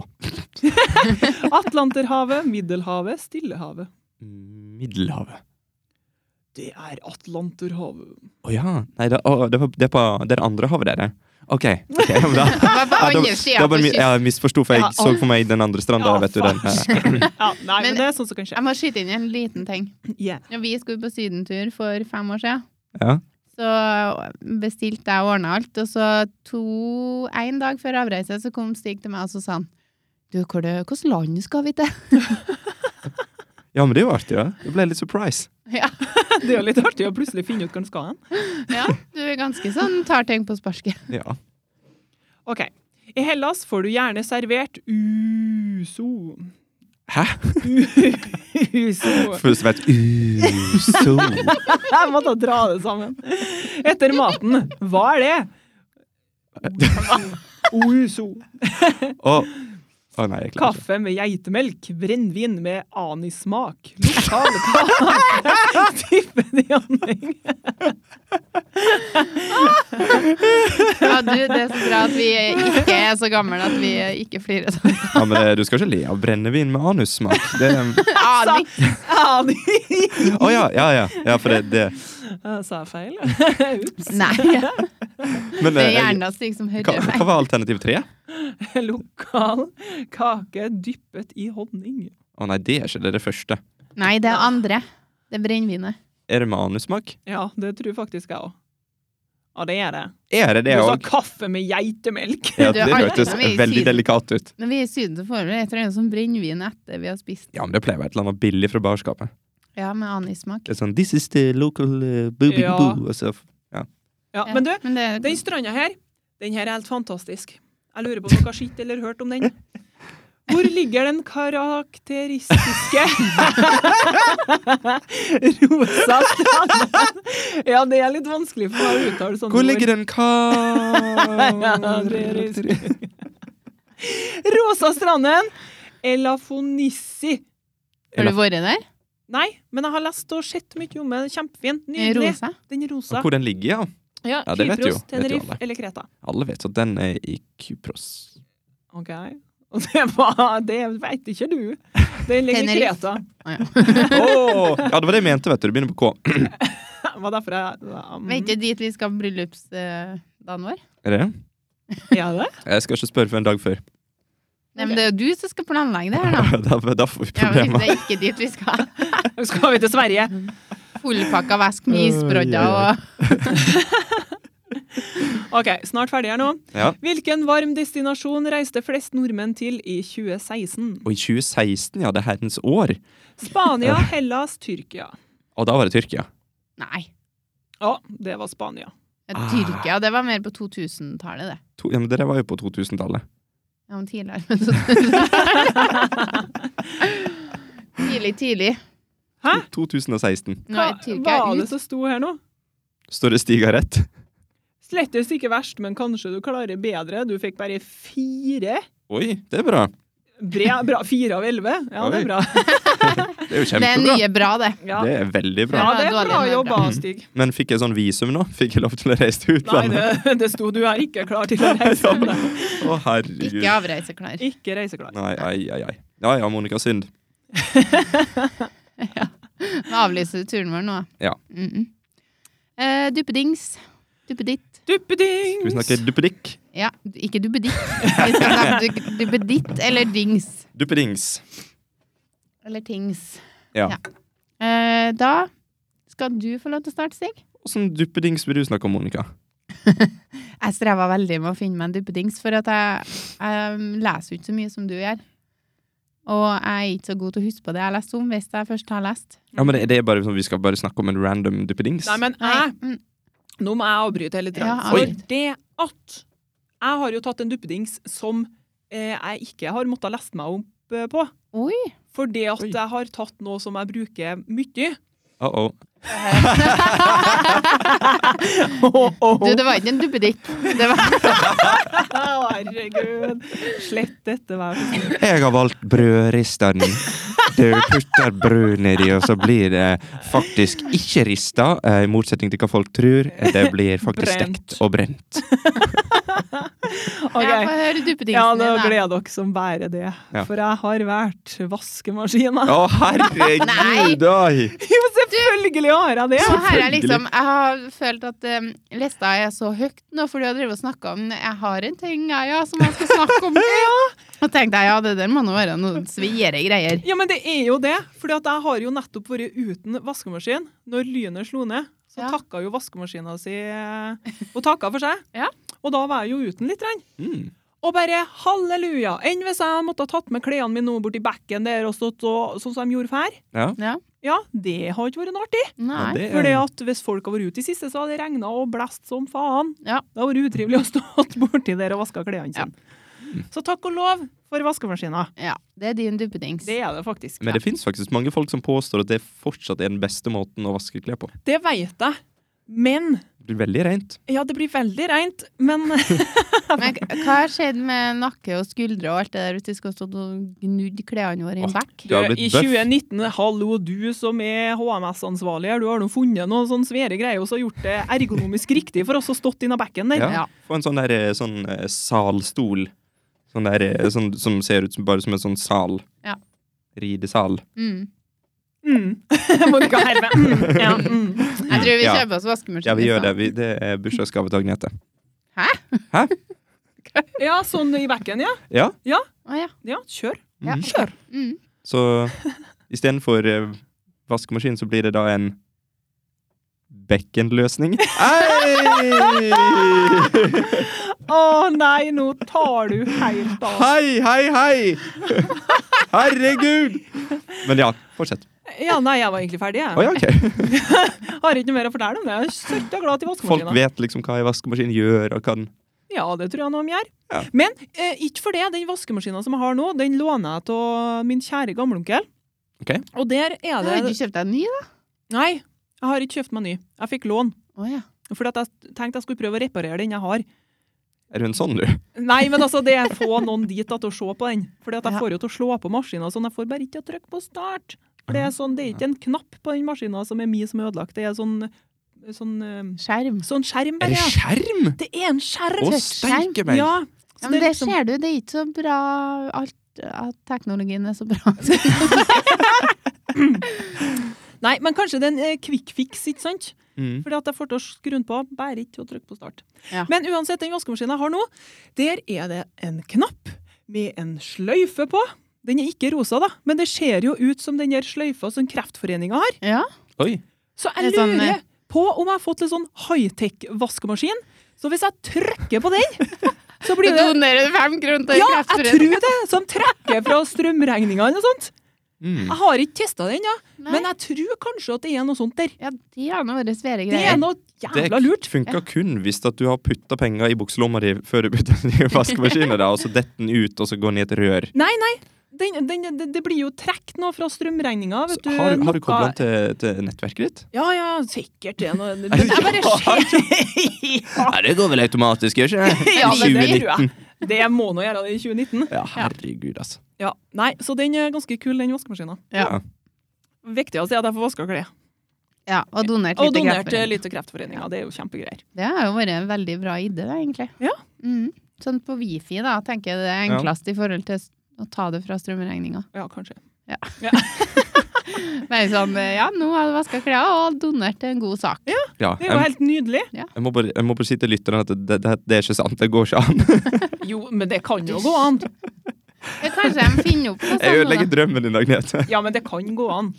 S2: Atlanterhavet, [laughs] Middelhavet, Stillehavet.
S3: Middelhavet.
S2: Det er Atlanterhavet.
S3: Å ja. Nei, det, å, det, var- det, er på, det er det andre havet, det er det. OK. ok, men
S2: [laughs]
S3: da,
S1: Det var på
S3: Ja, da-
S1: andre
S3: da
S1: sida
S3: bare
S1: på
S3: mi-
S1: kysten.
S3: jeg misforsto, for jeg
S2: Ja,
S3: så for meg den andre stranda.
S2: Ja,
S3: vet du, den. eh,
S2: Ja, nei, men,
S1: Men-
S2: det er sånt som kan skje. [laughs]
S1: Jeg må skyte inn en liten ting.
S2: Yeah.
S1: Når vi skulle på sydentur for fem år siden,
S3: Ja.
S1: så bestilte jeg og ordna alt, og så to En dag før avreise så kom Stig til meg og så sa han Du, hvor det, hvilket land skal vi til? [laughs]
S3: ja, men det var artig, da. Det ble litt surprise.
S1: Ja,
S2: Det er jo litt artig å plutselig finne ut hvor den skal hen.
S1: ja, du er ganske sånn tar ting på sparket. [laughs]
S3: Ja.
S2: OK. I Hellas får du gjerne servert [laughs] uso.
S3: Hæ?
S2: Uso.
S3: Først vet Uso.
S2: Jeg måtte dra det sammen. Etter maten. Hva er det? Ouzo.
S3: Å Å, nei, jeg klarer ikke.
S2: Kaffe med geitemelk. Brennevin med anissmak. Lokal kaffe. [laughs] Type de anlegg.
S1: Ja, du, det er så bra at vi ikke er så gamle at vi ikke flirer sånn.
S3: Ja, men det, du skal ikke le av brennevin med anussmak. Det
S1: Aning.
S2: Anis.
S3: Å ja, ja, ja. ja for det, det.
S2: Jeg Sa jeg feil? Ups.
S1: Nei. [laughs]
S3: Men
S1: Det er
S3: eh, jeg,
S1: hjernen av Stig som
S3: hva,
S1: hører
S3: eh, hva
S1: meg.
S3: var alternativ tre?
S2: Lokal kake dyppet i honning.
S3: Å nei, det er ikke det, det er det første.
S1: Nei, det er andre. Det er brennevinet.
S3: Er det med anussmak?
S2: Ja, det tror faktisk jeg òg. Ja, det er det.
S3: Er det det
S2: du sa
S3: òg?
S2: kaffe med geitemelk.
S3: Ja,
S1: Du
S3: det
S1: er alltid
S3: hørtes
S1: som i
S3: veldig
S1: Syden.
S3: delikat ut.
S1: Når vi er i Syden, så får vi et eller annet sånn brennevin etter vi har spist.
S3: Ja, men det pleier å være et eller annet billig fra barskapet.
S1: Ja, med anissmak.
S3: Det er sånn This is the local uh, boo boo
S2: Ja.
S3: boo. Og så
S2: Ja,
S1: Ja,
S2: men du,
S1: men det,
S2: den stranda her, den her er helt fantastisk. Jeg lurer på om dere har sett eller hørt om den. Hvor ligger den karakteristiske [laughs] rosa stranden? Ja, det er litt vanskelig for meg å uttale sånne
S3: Hvor ligger den
S2: [laughs] Ja, det er
S3: ka...
S2: ord. Rosa stranden. Elafonissi.
S1: har du vært der?
S2: Nei, men jeg har lest og sett mye om den. Kjempefin.
S1: I
S2: Nydelig.
S1: Rosa?
S2: Den er rosa.
S3: Hvor den ligger, ja.
S2: Ja,
S3: Ja, det vet
S2: Kypros,
S3: jo- vet jo
S2: Tenerife
S3: alle.
S2: eller Kreta.
S3: Alle vet at den er i Kypros.
S2: Ok. [laughs] Og det var Det veit ikke du. Den ligger i
S1: Tenerife.
S2: Kreta.
S1: Å, ja.
S3: Åh! Ja, det var det jeg mente, vet du. Det begynner på K.
S2: Var derfor jeg um,
S1: Men er ikke dit vi skal bryllupsdagen vår?
S3: Er det det?
S2: [laughs] Ja, det?
S3: Jeg skal ikke spørre før en dag før.
S1: Nei, men det er jo du som skal planlegge det her,
S2: [laughs]
S1: da.
S3: [laughs] da, da får vi
S1: Ja, men
S3: problemer.
S1: Det er ikke dit vi skal.
S2: Skal vi til Sverige?
S1: Fullpakka væsk med isbrodder og
S2: OK, snart ferdig her nå.
S3: Ja.
S2: Hvilken varm destinasjon reiste flest nordmenn til i 2016?
S3: Og i 2016, ja, det er herrens år. [laughs]
S2: Spania, Hellas, Tyrkia.
S3: Og da var det Tyrkia.
S1: Nei.
S2: Ja, det var Spania. Ah.
S1: Tyrkia. Det var mer på 2000-tallet, det.
S3: To, ja, men det der var jo på 2000-tallet.
S1: Ja, men tidligere. Men
S2: [laughs]
S1: så- tidlig, tidlig.
S2: Hæ?
S3: 2016.
S1: Nå
S2: Hva
S1: er Tyrkia
S2: var det
S1: ut.
S2: som sto her nå?
S3: Står det stiga rett?
S2: Slettes ikke verst, men kanskje du klarer bedre. Du fikk bare fire.
S3: Oi, det er bra.
S2: Bre, bra, fire av elleve. Ja, det
S3: Oi.
S2: er bra.
S3: Det er jo
S1: Det er
S3: kjempebra.
S1: nye bra, det.
S2: Ja,
S3: Det er veldig bra.
S2: ja det er
S1: Dårlig,
S2: bra
S1: men
S2: jobba,
S1: bra.
S2: Stig.
S3: Men fikk jeg sånn visum nå? Fikk jeg lov til å reise til
S1: [laughs]
S2: Nei,
S3: utlandet?
S2: det, det sto du er ikke klar
S3: [laughs]
S2: til å reise.
S3: Å, herregud.
S1: Ikke avreiseklar.
S2: Ikke reiseklar.
S3: Nei, ai, ai, ai. Ja ja, Monica, synd.
S1: Nå avlyser du turen vår nå.
S3: Ja.
S1: Mm -mm. Eh, duppedings. Duppeditt.
S2: Duppedings!
S3: Skal vi snakke duppedikk?
S1: Ja, ikke duppeditt. [laughs] Vi skal snakke du- duppeditt eller dings.
S3: Duppedings.
S1: Eller tings.
S3: Ja.
S1: Ja. Eh, da skal du få lov til å starte, Stig.
S3: Åssen sånn duppedings vil du snakke om, Monica?
S1: Jeg streva veldig med å finne meg en duppedings, for at jeg, jeg leser jo ikke så mye som du gjør. Og jeg er ikke så god til å huske på det jeg leste om, hvis jeg først har lest.
S3: Ja, men det, det er bare sånn, Vi skal bare snakke om en random duppedings?
S2: Nei, men
S1: Nei.
S2: jeg,
S1: mm,
S2: nå må jeg avbryte hele tida.
S1: Ja,
S2: For
S1: avbryt.
S2: det at jeg har jo tatt en duppedings som eh, jeg ikke har måttet leste meg opp eh, på.
S1: Oi!
S2: For det at
S3: Oi.
S2: jeg har tatt noe som jeg bruker
S3: [laughs]
S2: mye.
S3: Uh -oh.
S1: Du, det var ikke en duppeditt. Det var
S2: Herregud. Slett dette, vær så snill.
S3: Jeg har valgt brødristeren. Du putter brød nedi, og så blir det faktisk ikke rista, eh, i motsetning til hva folk tror. Det blir faktisk
S2: Brent.
S3: stekt og brent.
S1: [laughs] Jeg
S2: Ok.
S1: får høre
S2: Ja,
S1: duppedingsen
S2: nå
S1: din, da.
S2: gleder dere som bærer det.
S3: Ja.
S2: For jeg har vært vaskemaskina.
S3: [laughs] Å, herregud, oi!
S2: [laughs] Jo, selvfølgelig har jeg det!
S1: Så her er
S3: Selvfølgelig.
S1: liksom, jeg har følt at um, lista er så høyt nå, for du har drevet og snakka om Jeg har en ting, ja, ja, som jeg skal snakke om. Og tenkte jeg, ja, det der må nå være noen sviere greier.
S2: Ja, men det er jo det. For jeg har jo nettopp vært uten vaskemaskin. Når lynet slo ned, så
S1: Ja.
S2: takka jo vaskemaskina si Hun takka for seg.
S1: [laughs] Ja.
S2: Og da var jeg jo uten litt. grann.
S3: Mm.
S2: Og bare halleluja! Enn hvis jeg måtte ha tatt med klærne mine nå borti bekken der og stått og, sånn som de gjorde før?
S3: Ja,
S1: Ja.
S2: Ja, det har ikke vært noe artig.
S3: ja,
S1: Nei.
S3: det
S2: For
S3: er
S2: hvis folk har vært ute i siste, så har det regna og blåst som faen.
S1: Ja.
S2: Det har vært utrivelig å stå [laughs] borti der og vaske klærne sine. Så takk og lov for vaskemaskina.
S1: Ja, det er din duppedings.
S2: Det er det faktisk.
S3: Men det fins faktisk mange folk som påstår at det fortsatt er den beste måten å vaske klær på.
S2: det veit jeg. Men
S3: Det blir veldig rent.
S2: Ja, det blir veldig reint, men
S1: Men k- hva har skjedd med nakke og skuldre og alt det der hvis du skal stå og gnudd klærne våre i en
S3: Åh,
S1: bekk?
S3: [laughs] Du har blitt
S2: [laughs] i
S3: bøff.
S2: 2019, hallo du som er HMS-ansvarlig her, du har nå funnet noen sånne svære greier og så gjort det ergonomisk riktig for oss å stått inna bekken der.
S3: Ja. Få en sånn der eh, sånn eh, salstol. Sånn der eh, sånn, som ser ut som bare som en sånn sal.
S1: Ja.
S3: Ridesal.
S1: Mm.
S2: Mm. [laughs] Monica Herve. Mm. Ja, mm.
S1: Jeg tror vi
S3: Ja.
S1: kjøper oss vaskemaskin.
S3: Ja, vi gjør
S1: liksom.
S3: det. Vi, det er bursdagsgave til Agnete.
S1: Hæ? Å
S2: Ja, sånn i bekken, ja.
S3: Ja,
S1: ja.
S2: Ja, kjør.
S1: ja.
S3: Mhm.
S2: Kjør.
S1: Mm.
S3: så istedenfor uh, vaskemaskin, så blir det da en bekkenløsning. Hei!
S2: Å nei, nå tar du helt av.
S3: Hei, hei, hei! Herregud! Men ja, fortsett.
S2: Ja, nei, jeg var egentlig ferdig, jeg.
S3: Å ja, ok.
S2: Har ikke noe mer å fortelle om det. Jeg er søtt og glad til
S3: Folk
S2: vaskemaskinen.
S3: vet liksom hva en vaskemaskin gjør, og hva den
S2: Ja, det tror jeg noe om gjør.
S3: Ja.
S2: Men eh, ikke for det. Den vaskemaskinen som jeg har nå, den låner jeg av min kjære gamleonkel.
S3: Ok.
S2: Og der
S1: Da
S2: er
S1: har du
S2: det
S1: ikke kjøpt deg en ny, da?
S2: Nei, jeg har ikke kjøpt meg ny. Jeg fikk lån.
S1: Å ja.
S2: Fordi at jeg tenkte jeg skulle prøve å reparere den jeg har.
S3: Er du en sånn, du?
S2: Nei, men altså, det er få noen dit da, til å se på den. Fordi at jeg
S1: Ja.
S2: får jo til å slå på maskinen og sånn. Jeg får bare ikke til å trykke på start. For det er sånn, det er ikke en knapp på den maskinen som er min som er ødelagt. Det er sånn, sånn, eh,
S1: Skjerm.
S2: sånn skjerm,
S3: Er
S2: bare.
S3: det
S2: ja.
S3: skjerm?
S2: Det er en skjerm!
S3: Å,
S1: Skjerm.
S3: steike meg!
S2: Ja. Så
S1: Ja, men
S2: det er
S1: det
S2: liksom-
S1: ser du, det er ikke så bra alt at teknologien er så bra.
S2: Nei, men kanskje det er en eh, quick fix, ikke sant?
S3: Mm.
S2: Fordi at jeg får til å skru den på, bare ikke til å trykke på start.
S1: Ja.
S2: Men uansett, den vaskemaskinen jeg har nå, der er det en knapp med en sløyfe på. Den er ikke rosa, da, men det ser jo ut som den der sløyfa som Kreftforeninga har.
S1: Ja.
S3: Oi.
S2: Så
S1: Det
S2: jeg
S1: er sånn, eh,
S2: lurer på om jeg har fått litt sånn high-tech-vaskemaskin. Så hvis jeg trykker på den,
S1: [laughs]
S2: så blir det
S1: donerer du fem kroner til
S2: Ja, jeg tror det! Som trekker fra strømregninga eller noe sånt.
S3: Mm.
S2: Jeg har ikke testa den, ja.
S1: Nei.
S2: men jeg tror kanskje at det er noe sånt der.
S1: Ja, det er nå våre svære
S2: Det er
S1: greier.
S2: noe
S3: Det
S2: jævla lurt.
S3: funker kun hvis at du har putta penger i bukselomma di før du putter den i
S2: [laughs]
S3: vaskemaskinen, da, og så detter den ut, og så går den i et rør.
S2: Nei, nei. Den, den, det- det blir jo trukket noe fra strømregninga.
S3: Så
S2: Vet du,
S3: har, har du
S2: noe-
S3: kobla den til, til nettverket ditt?
S2: Ja, ja, sikkert. Det er
S3: [laughs]
S2: noe det, det [laughs] er bare skjer.
S3: Nei, det går vel automatisk, gjør ikke det?
S2: [laughs] Ja, men det tror jeg.
S3: 2019.
S2: Det må nå gjøre det i 2019.
S3: Ja, herregud, altså.
S2: Ja, nei, Så den er ganske kul, den vaskemaskinen.
S3: Ja.
S2: Viktigst er at jeg får vaska klær.
S1: Ja, og donert
S2: Og
S1: litt.
S2: donert
S1: til
S2: til litt til Kreftforeninga. Det er jo kjempegreier.
S1: Det har jo vært en veldig bra idé, da, egentlig.
S2: Ja.
S1: Mm. Sånn på wifi, da, tenker jeg det er
S3: Ja.
S1: enklest i forhold til s- å ta det fra strømregninga.
S2: Ja, kanskje.
S1: Bare sånn, ja, nå har du vaska klær og donert til en god sak.
S3: ja.
S2: Det er jo
S3: Jeg,
S2: helt nydelig.
S3: jeg må bare, jeg må bare si til lytterne at det, det, det er ikke sant. Det går ikke an.
S2: Jo, men det kan jo gå an.
S1: Ja, Kanskje de finner opp noe sånt.
S3: [laughs] Jeg
S1: nå, da.
S3: ødelegger
S1: sånn,
S3: drømmen din, Agnete.
S2: Ja, men det kan gå an.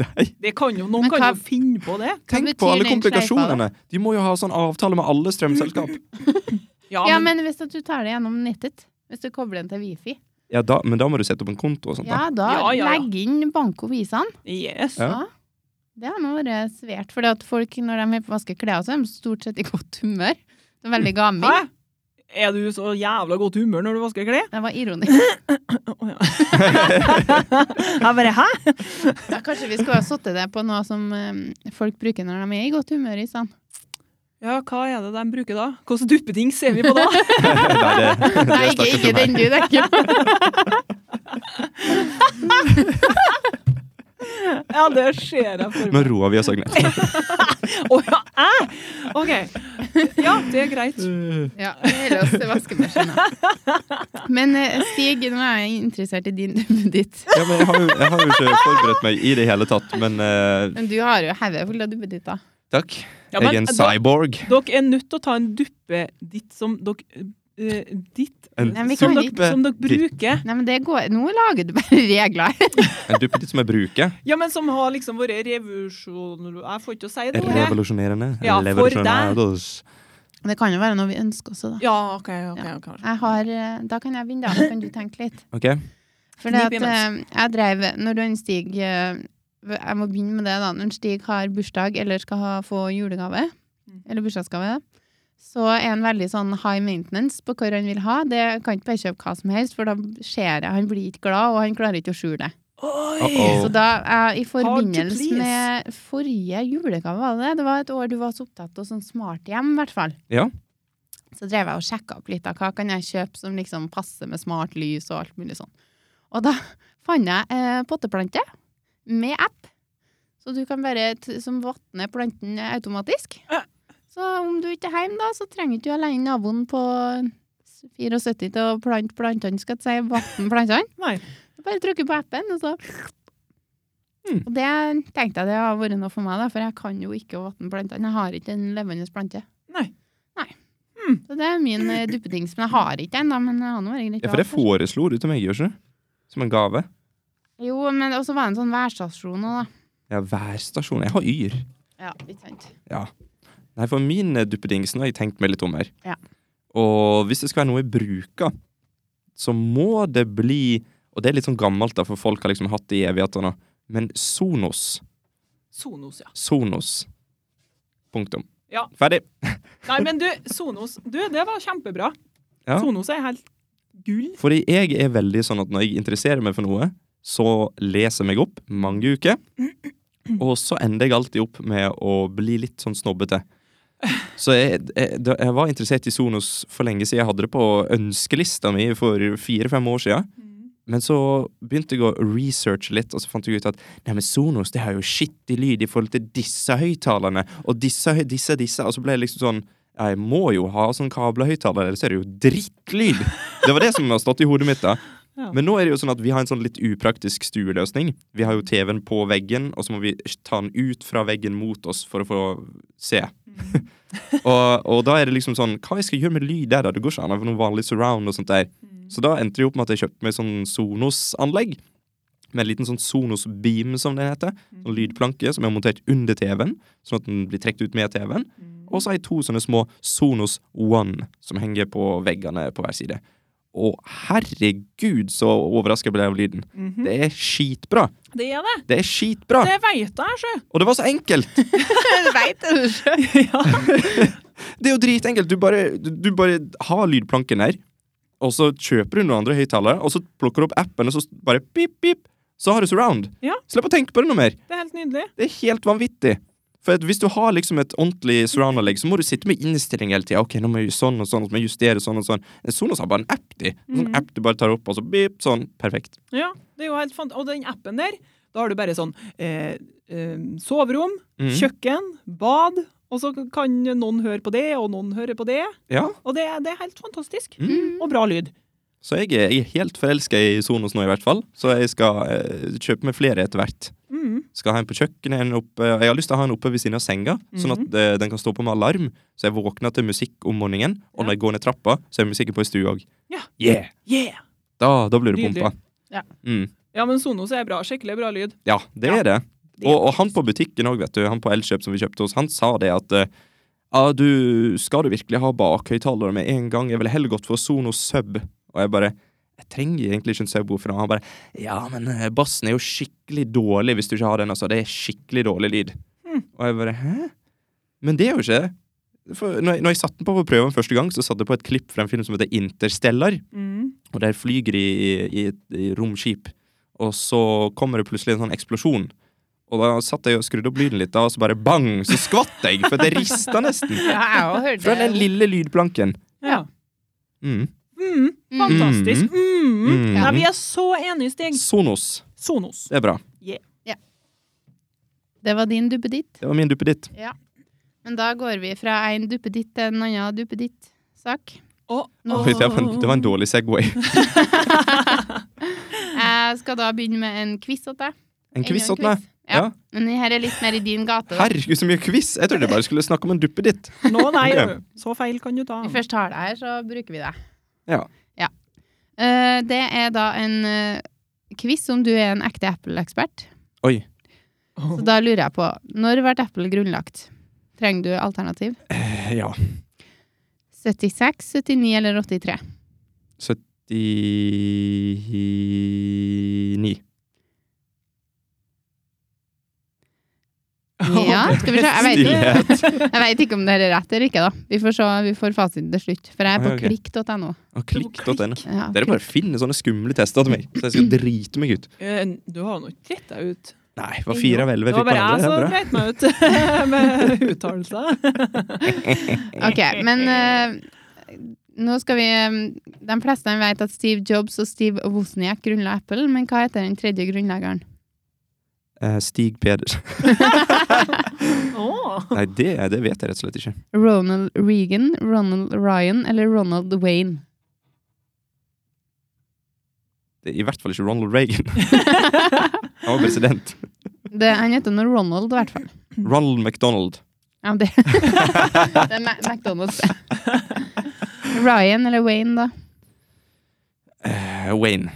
S2: Det kan jo, noen
S1: Men
S2: kan
S1: hva-
S2: jo finne på det.
S3: Tenk
S1: betyr
S3: på alle
S1: den
S3: komplikasjonene. De må jo ha sånn avtale med alle strømselskap.
S2: [laughs]
S1: Ja, men hvis at du tar det gjennom nettet, hvis du kobler den til wifi,
S3: Ja, da, men da må du sette opp en konto og sånt. da.
S1: ja, da
S2: Ja, ja, ja.
S1: legg inn bankovisene.
S2: Yes.
S3: Ja.
S1: Ja. Det har nå vært svært, for folk når de er på å vaske klær, så er de stort sett i godt humør. De er veldig gamle.
S2: Hæ? Er du så jævla godt humør når du vasker klær?
S1: Det var ironisk.
S2: Å, ja. Jeg bare hæ?
S1: Ja, kanskje vi skulle ha satt det på noe som eh, folk bruker når de er i godt humør. i stedet.
S2: Ja, hva er det de bruker da? Hvilke duppedings ser vi på [laughs] da?
S3: Nei, det, det
S1: Nei, ikke,
S3: snakker
S1: ikke
S3: for meg.
S1: den du dekker.
S2: Ja, det ser jeg for
S3: Nå
S2: meg.
S3: roer vi oss, Agnete.
S2: Å ja, æ! OK. Ja, det er greit.
S1: Ja, vi holder oss til vaskemaskina. Men eh, Stig, nå er jeg interessert i din duppeditt.
S3: Ja, men jeg, har jo, jeg har jo ikke forberedt meg i det hele tatt, men eh,
S1: Men du har jo hodet fullt av duppeditter.
S3: takk.
S2: Ja,
S3: Jeg er
S2: men,
S3: en cyborg.
S2: Dere er nødt til å ta en duppeditt som dere eh, Ditt
S3: En
S1: Nei, men vi
S2: som,
S1: kan
S2: dere,
S3: ikke.
S2: som dere bruker.
S1: Nei, men det går Nå lager du bare [laughs] regler.
S3: En duppeditt som jeg bruker.
S2: Ja, men som har liksom vært revolusjon... Jeg får ikke å si det ordet.
S3: Revolusjonerende.
S2: Ja, for deg.
S3: Revolusjonados.
S1: Det kan jo være noe vi ønsker også, da.
S2: Ja, OK. ok, ok.
S1: Jeg har, eh, da kan jeg begynne, da. Kan du tenke litt?
S3: Ok?
S1: For det at
S2: Knip
S1: eh,
S2: imens.
S1: jeg drev Når du Stig eh, Jeg må begynne med det, da. Når Stig har bursdag eller skal ha, få julegave,
S2: Mm.
S1: eller bursdagsgave, så er han veldig sånn high maintenance på hva han vil ha. Det kan ikke bare kjøpe hva som helst, for da ser jeg han blir ikke glad, og han klarer ikke å skjule det.
S2: Oi!
S3: Oh.
S1: Så da, jeg, i forbindelse
S2: please.
S1: med forrige julegave, var det det? Det var et år du var så opptatt av sånn smart hjem, i hvert fall.
S3: Ja.
S1: Så drev jeg og sjekka opp litt av hva kan jeg kjøpe som liksom passer med smart lys og alt mulig sånn. Og da [laughs] fant jeg eh, potteplante med app, så du kan bare t som vatne planten automatisk.
S2: Ja.
S1: Så om du ikke er hjemme, da, så trenger ikke du alene naboen på 74 til å plante plantene, skal jeg si, vatne plantene.
S2: Nei.
S1: Du Bare trykker på appen, og så
S3: Mm.
S1: Og det tenkte jeg det har vært noe for meg, da, for jeg kan jo ikke å vatne plantene. Jeg har ikke en levende plante.
S2: Nei.
S1: Nei. Så det er min eh, duppedings. Men jeg har ikke ennå, men jeg har nå vært greit.
S3: Ja,
S1: å
S3: for det
S1: ha først.
S3: foreslo du til meg, gjør ikke du? Som en gave.
S1: Jo, men også var det en sånn værstasjon òg, da.
S3: Ja, værstasjon. Jeg har yr.
S1: Ja, ikke sant.
S3: Ja. Nei, for min eh, duppedings nå har jeg tenkt meg litt om her.
S1: Ja.
S3: Og hvis det skal være noe jeg bruker, så må det bli Og det er litt sånn gammelt, da, for folk har liksom hatt det i evigheter nå. Men Sonos.
S2: Sonos, ja.
S3: Sonos. Punktum.
S2: Ja.
S3: Ferdig.
S2: Nei, men du, Sonos, du, det var kjempebra.
S3: Ja.
S2: Sonos er helt gull.
S3: Fordi jeg er veldig sånn at når jeg interesserer meg for noe, så leser jeg meg opp mange uker. Og så ender jeg alltid opp med å bli litt sånn snobbete. Så jeg, jeg, da- jeg var interessert i Sonos for lenge siden. Jeg hadde det på ønskelista mi for fire-fem år siden. Men så begynte jeg å researche litt, og så fant jeg ut at nei, men Sonos det har jo skittig lyd i forhold til disse høyttalerne og disse, høy- disse, disse. Og så ble jeg liksom sånn Jeg må jo ha sånn kablehøyttaler, ellers er det jo drittlyd! Det var det som har stått i hodet mitt. da
S2: Ja.
S3: Men nå er det jo sånn at vi har en sånn litt upraktisk stueløsning. Vi har jo TV-en på veggen, og så må vi ta den ut fra veggen mot oss for å få se. [laughs] og, og da er det liksom sånn Hva jeg skal gjøre med lyd der, da? Det går ikke an å ha noe vanlig surround og sånt der. Så da endte det jo opp med at jeg kjøpte meg sånn Sonos-anlegg. Med en liten sånn Sonos-beam, som den heter.
S2: Mm.
S3: Sånn lydplanke som jeg har montert under TV-en, sånn at den blir trukket ut med TV-en.
S2: Mm.
S3: Og så har jeg to sånne små Sonos One som henger på veggene på hver side. Og herregud, så overraska ble jeg av lyden.
S2: Mhm.
S3: Det er skitbra!
S2: Det er det.
S3: Det er skitbra!
S2: Det veit jeg,
S3: [laughs]
S2: sjø.
S3: Og det var så enkelt!
S1: Du veit det, du sjøl.
S2: Ja.
S3: Det er jo dritenkelt. Du bare, du, du bare har lydplanken her, og så kjøper du noen andre høyttalere, og så plukker du opp appen, og så bare pip, pip, så har du surround.
S2: Ja.
S3: Slipp å tenke på det noe mer.
S2: Det er helt nydelig.
S3: Det er helt vanvittig. For at hvis du har liksom et ordentlig surround-anlegg, så må du sitte med innstilling hele tida. Ok, nå må jeg gjøre sånn og sånn, og så må jeg justere sånn og sånn. En Sonos har bare en app, de. En sånn
S2: Mhm.
S3: app du bare tar opp, og så bip, sånn. Perfekt.
S2: Ja, det er jo helt fant Og den appen der, da har du bare sånn eh, eh, soverom,
S3: Mhm.
S2: kjøkken, bad, og så kan noen høre på det, og noen hører på det.
S3: Ja.
S2: Og det, er- det er helt fantastisk.
S3: Mhm.
S2: Og bra lyd.
S3: Så jeg er, jeg er helt forelska i Sonos nå, i hvert fall. Så jeg skal eh, kjøpe meg flere etter hvert.
S2: Mhm.
S3: Skal ha en på kjøkkenet, en oppe Jeg har lyst til å ha en oppe ved siden av senga, sånn
S2: Mhm.
S3: at eh, den kan stå på med alarm. Så jeg våkner til musikk om morgenen, og når jeg går ned trappa, så er musikken på i stua òg.
S2: Ja.
S3: Yeah!
S2: Yeah!
S3: Da, da blir du
S2: Nydelig.
S3: pumpa.
S1: Ja.
S3: Mm.
S2: Ja, men Sonos er bra. Skikkelig bra lyd.
S3: Ja, det
S2: Ja.
S3: er det.
S2: Det er
S3: Og, og han på butikken òg, vet du. Han på Elkjøp som vi kjøpte hos, han sa det at eh, Ja, du Skal du virkelig ha bakhøyttalere med en gang? Jeg ville heller gått for Sono Sub. Og jeg bare Jeg trenger egentlig ikke en subwoofer. Og han bare Ja, men eh, bassen er jo skikkelig dårlig hvis du ikke har den, altså. Det er skikkelig dårlig lyd.
S2: Mm.
S3: Og jeg bare Hæ? Men det er jo ikke det. For når jeg, når jeg satte den på på prøven første gang, så satte jeg på et klipp fra en film som heter Interstellar.
S2: Mhm.
S3: Og der flyger de i, i, et- i romskip. Og så kommer det plutselig en sånn eksplosjon. Og da satt jeg og skrudde opp lyden litt, da, og så bare bang! Så skvatt jeg, for [laughs] det rista nesten.
S1: Ja, jeg har hørt
S3: Fra den
S1: det.
S3: lille lydplanken.
S2: Ja.
S3: Mm.
S2: Mhm.
S1: Mm.
S2: Fantastisk. Mhm.
S3: Mhm.
S2: Ja, vi er så enige, Stig.
S3: Sonos.
S2: Sonos.
S3: Det er bra.
S1: Det var din duppeditt.
S3: Det var min duppeditt.
S1: Men da går vi fra en duppeditt til en annen duppeditt-sak.
S2: Å,
S1: Nå-
S2: å.
S3: Oi, Det var en, det var en dårlig Segway.
S1: Jeg skal da begynne med en quiz åt deg.
S3: [laughs] En quiz
S1: Enda
S3: åt meg.
S1: Ja.
S3: Ja.
S1: Men det her er litt mer i din gate. da.
S3: Herregud, så mye quiz! Jeg trodde jeg bare skulle snakke om en duppeditt.
S2: Nå, nei,
S3: Ok.
S2: du. Så feil kan du ta.
S1: Når vi
S2: [laughs]
S1: først har det her, så bruker vi det.
S3: Ja.
S1: Eh, det er da en eh, quiz om du er en ekte Apple-ekspert.
S3: Oi.
S1: Så da lurer jeg på, når ble Apple grunnlagt? Trenger du alternativ?
S3: Eh, Ja.
S1: 76, 79 eller
S3: [laughs]
S1: 83?
S3: 79
S1: Ja, skal vi se. Jeg vet ikke,
S3: Stillhet.
S1: jeg vet ikke om det her er rett eller ikke, da. Vi får, se, vi får fasiten til slutt. For jeg er på
S3: Ah, ok.
S1: klikk.no.
S3: Og klikk.no.
S1: Ja,
S3: Dere bare finner sånne skumle tester til meg, så jeg skal drite meg ut.
S2: Eh, Du har nå ikke dritt deg ut.
S3: Nei, det var fire av elleve
S2: Det var
S3: fikk
S2: bare jeg som
S3: hverandre. Det er bra.
S2: dreit meg ut med [laughs] uttalelser.
S1: [laughs] Ok, men eh, nå skal vi eh, De fleste vet at Steve Jobs og Steve Wozniak grunnla Apple, men hva heter den tredje grunnleggeren?
S3: Eh, Stig Pedersen.
S2: Åh.
S3: [laughs] Nei, det, eh, det vet jeg rett og slett ikke.
S1: Ronald Reagan, Ronald Ryan eller Ronald Wayne?
S3: Det er I hvert fall ikke Ronald Reagan. [laughs] Han var president.
S1: Det, han heter nå Ronald, i hvert fall.
S3: Ronald McDonald.
S1: Ja, det, [laughs] det er Mac- McDonald's. Ryan eller Wayne, da?
S3: Eh,
S2: [laughs]
S3: Wayne.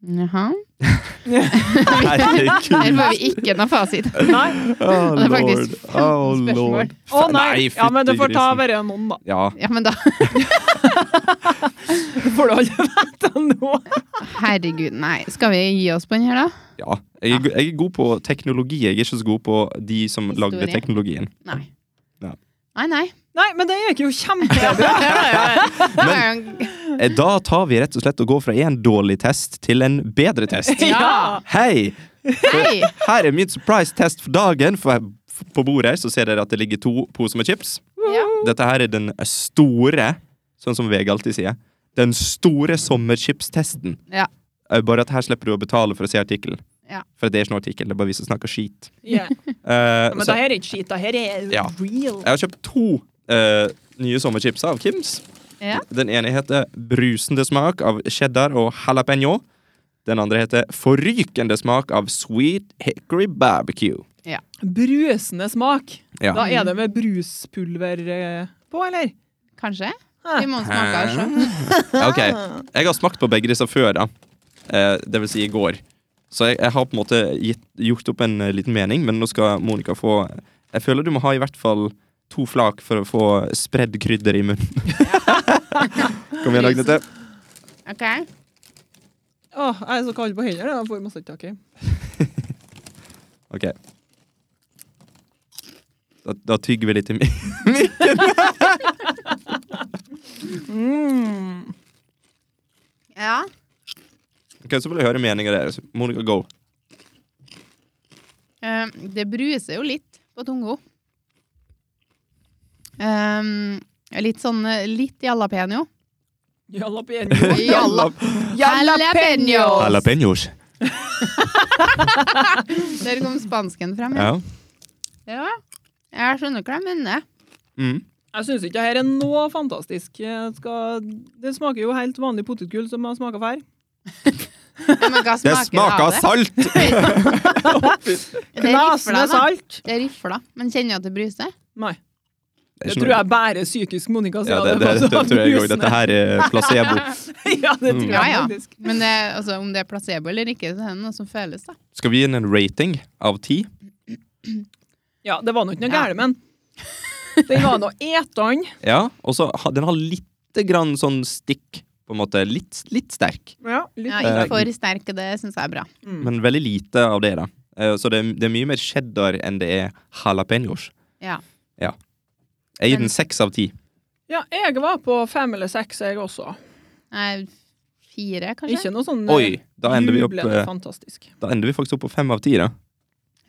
S1: Jaha. Her
S3: Herregud.
S1: får vi ikke noe fasit.
S3: [laughs]
S2: Nei.
S3: Oh,
S1: det er faktisk 15 spørsmål.
S2: Å nei! Ja, men du får ta
S3: fyttegrisen.
S2: bare noen, da. [laughs]
S3: Ja.
S1: Ja, men da
S2: Det får du aldri vite nå.
S1: Herregud, nei. Skal vi gi oss på den her, da?
S3: ja. Jeg, er go- jeg er god på teknologi. Jeg er ikke så god på de som
S1: Historie.
S3: lagde teknologien.
S1: Nei.
S3: Ja.
S1: Nei, nei.
S2: Nei, men det gikk jo kjempebra.
S1: [laughs]
S3: Eh, Da tar vi rett og slett og går fra en dårlig test til en bedre test.
S2: [laughs] Ja.
S3: Hei!
S1: Hei!
S3: Her er min surprise test for dagen. For f- på bordet her så ser dere at det ligger to poser med chips.
S1: Ja.
S3: Dette her er den store, sånn som VG alltid sier, den store sommerchips-testen.
S1: Ja.
S3: Eh, Bare at her slipper du å betale for å se artikkelen.
S1: Ja.
S3: For det er ikke noen artikkel, det er bare vi som snakker skit.
S2: Ja.
S3: Eh,
S2: Men
S3: så,
S2: det her er ikke skit, det her er
S3: Ja.
S2: real.
S3: jeg har kjøpt to eh, nye sommerchips av Kims.
S1: Ja.
S3: Den ene heter Brusende smak av cheddar og jalapeño. Den andre heter Forrykende smak av sweet hickory barbecue.
S2: Brusende smak.
S3: Ja.
S2: Da er det med bruspulver eh, på, eller?
S1: Kanskje?
S2: Hæ?
S1: Vi må smake av sjøl.
S3: Ja, Ok, Jeg har smakt på begge disse før, da. Eh, det vil si i går. Så jeg, jeg har på en måte gitt, gjort opp en eh, liten mening, men nå skal Monica få Jeg føler du må ha i hvert fall to flak for å få spredd krydder i munnen. Kom igjen, Agnete.
S1: Ok.
S2: Åh, jeg er så kald på hendene. Jeg får masse tak i.
S3: Ok. Da, da tygger vi litt i mi- [laughs]
S2: Mm.
S1: Ja.
S3: Ok, Så vil jeg høre meninga deres. Monica, go.
S1: Eh, det bruser jo litt på tunga. Um, litt sånn eh, Litt jalapeño.
S2: Jalapeño.
S1: [laughs] Jala- Jalapeños.
S3: Jalapeños.
S1: Der kom spansken
S2: Mm.
S1: frem. Ja.
S3: Ja.
S1: ja. Jeg skjønner hva de mener.
S3: Mm.
S2: Jeg syns ikke det her er noe fantastisk. Jeg Skal... Det smaker jo helt vanlig potetgull som jeg smaker før.
S1: Ja, men hva
S3: [laughs] Det
S1: smaker
S3: smaker
S1: det?
S3: salt!
S1: Det er rifla,
S2: Knasende
S1: da.
S2: salt.
S1: Det er rifla. Men kjenner du at det bruser?
S2: Nei.
S3: Det
S2: Det
S3: er ikke
S2: tror
S3: noe-
S2: jeg bare er psykisk Monica sier.
S3: Ja, det, det, det, tror jeg òg. Dette her Mm. er placebo.
S2: sånn [laughs] ja, det tror
S1: Ja,
S2: jeg
S1: ja.
S2: faktisk.
S1: Men det, altså, om det er placebo eller ikke, så er det noe som føles, da.
S3: Skal vi gi den en rating av ti?
S2: Ja, det var nå ikke noe
S1: Ja.
S2: gærent, men den var nå etan.
S3: Ja, og så ha- den har lite grann sånn stikk, på en måte. Litt, litt sterk,
S2: Ja, litt
S1: Ja,
S3: Eh,
S1: ikke for sterk, det syns jeg er bra.
S2: Mm.
S3: men veldig lite av det, da. Eh, Så det er, det er mye mer cheddar enn det er jalapeños.
S1: Ja.
S3: Jeg gir den seks av ti.
S2: ja, jeg var på fem eller seks, jeg også.
S1: Nei, fire, kanskje?
S2: Ikke noe sånn eh,
S3: Oi! Da ender vi, opp,
S2: jublende
S3: eh,
S2: fantastisk.
S3: da ender vi faktisk opp på fem av ti, da.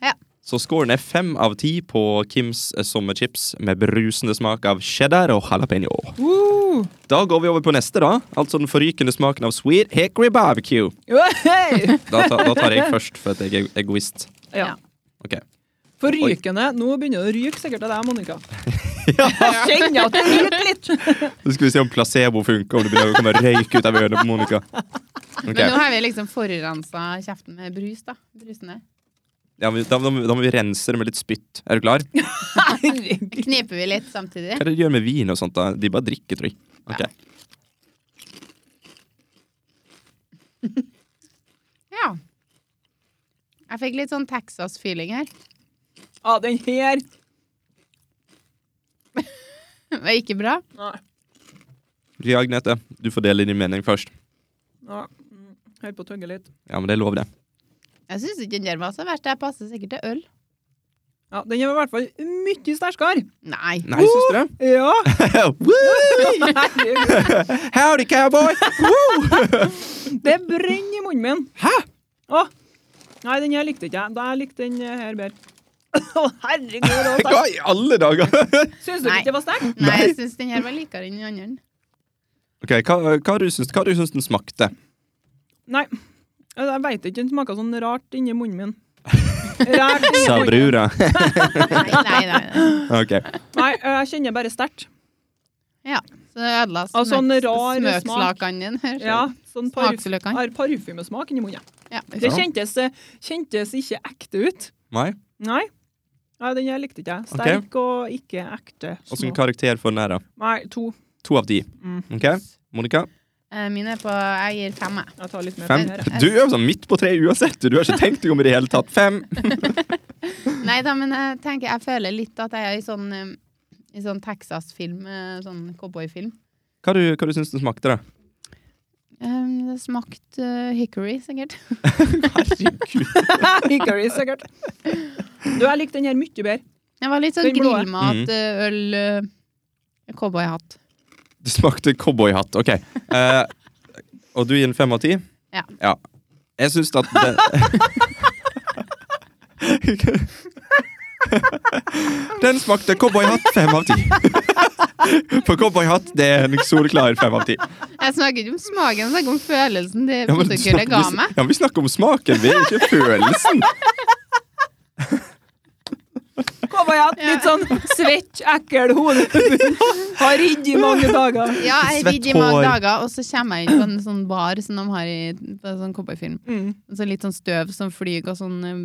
S1: Ja.
S3: Så scoren er fem av ti på Kims eh, sommerchips med berusende smak av cheddar og jalapeño.
S2: Uh, [laughs]
S3: Da går vi over på neste, da. Altså den forrykende smaken av sweet hickory barbecue.
S1: [laughs]
S2: hey!
S3: Da, ta, da tar jeg først, for at jeg er egoist.
S2: ja.
S3: Ok.
S2: For rykende Nå begynner det å ryke sikkert av deg, Monica.
S3: Ja.
S2: Jeg kjenner at det ryker litt.
S3: Så skal vi se om placebo funker, om det begynner å komme røyk ut av ørene på Monica. Ok.
S1: Men nå har vi liksom forurensa kjeften med brus, da. Brusene.
S3: Ja, men da, da, må- da må vi rense det med litt spytt. Er du klar? Hva
S2: [laughs] Herregud.
S1: Kniper vi litt samtidig?
S3: er det de gjør med vin og sånt? da? De bare drikker, tror jeg. Ok.
S1: Ja. Jeg fikk litt sånn Texas-feeling her. [laughs]
S2: Ja, den her
S1: Det var ikke bra.
S2: Nei.
S3: Ja, Agnete, du får dele din mening først.
S2: Ja. mm, Helt på å tygge litt.
S3: Ja, men det er lov, det.
S1: Jeg syns ikke den der var så verst. Jeg passer sikkert til øl.
S2: Ja, den er i hvert fall mye sterkere.
S1: Nei.
S3: Nei, syns du det?
S2: Ja.
S3: [laughs]
S2: [laughs]
S3: Woo!
S2: Herregud.
S3: Howdy,
S1: [laughs]
S3: cowboy!
S2: Det brenner i munnen min. Hæ? Å. Nei, den her likte ikke jeg. Da jeg likte den eh, her bedre. [laughs] Å, herregud. det var sterkt.
S3: Hva i alle dager? [laughs]
S2: Syns du
S1: Nei.
S2: ikke det var sterkt?
S1: Nei, jeg syns den her var likere enn den andre.
S3: ok, Hva, hva, du syns, hva du syns den smakte?
S2: Nei. Altså, Jeg veit ikke. Den smaker sånn rart inni munnen min. Rart inni
S3: Sa
S2: munnen.
S3: brura. [laughs]
S1: Nei, nei, nei. nei.
S3: Ok.
S2: Nei, jeg kjenner bare sterkt.
S1: Ja. Så det ødela
S2: Og sånn rar smak.
S1: smøkslakene dine. her, så-
S2: Ja, sånn parf
S1: Smaksløkene.
S2: har parfymesmak inni munnen.
S1: Ja.
S2: Det kjentes, eh, kjentes ikke ekte ut.
S3: Nei?
S2: Nei. Nei, den her likte ikke jeg.
S3: Ok.
S2: Sterk og ikke ekte. små.
S3: Åssen karakter får den her, da?
S2: Nei, to.
S3: To av de.
S2: Mm.
S3: OK? Monica?
S1: Eh, Mine er på Jeg gir fem, jeg.
S2: Jeg tar litt mer
S3: Fem?
S2: her.
S1: jeg.
S3: Du er jo sånn midt på tre uansett, du. Du har ikke tenkt deg om i det hele tatt. Fem!
S1: Nei da, men jeg tenker Jeg føler litt at jeg er i sånn eh, i sånn Texas-film, eh, sånn cowboyfilm.
S3: Hva, du, hva du syns den smakte, da?
S1: Um, det smakte eh, hickory, sikkert.
S3: Herregud.
S2: [laughs] Hickory, sikkert. Du, jeg likte den her mye bedre.
S1: Det var litt sånn
S2: Den blå, ja.
S1: grillmat,
S3: Mm.
S1: eh, øl, eh, cowboyhatt.
S3: [laughs] Det smakte cowboyhatt. OK. Eh, og du gir den fem av ti?
S1: Ja.
S3: Jeg syns at den [laughs] Den smakte cowboyhatt fem av ti. [laughs] For cowboyhatt det er en soleklar fem av ti.
S1: Jeg snakker ikke om smaken, jeg snakker om følelsen det
S3: [laughs] Ja, men du snakker-
S1: potetgullet ga
S3: du-
S1: meg.
S3: Ja, vi snakker om smaken, vi, ikke
S1: [laughs]
S3: følelsen.
S2: Cowboyhatt, litt sånn svett, ekkel hode. [laughs] Har ridd i mange dager.
S1: Ja, jeg
S3: Svett
S1: ridd i mange
S3: hår.
S1: dager, og så kommer jeg inn på en sånn bar som de har i på en sånn cowboyfilm.
S2: Mm.
S1: Så litt sånn støv som flyr, og sånn, eh,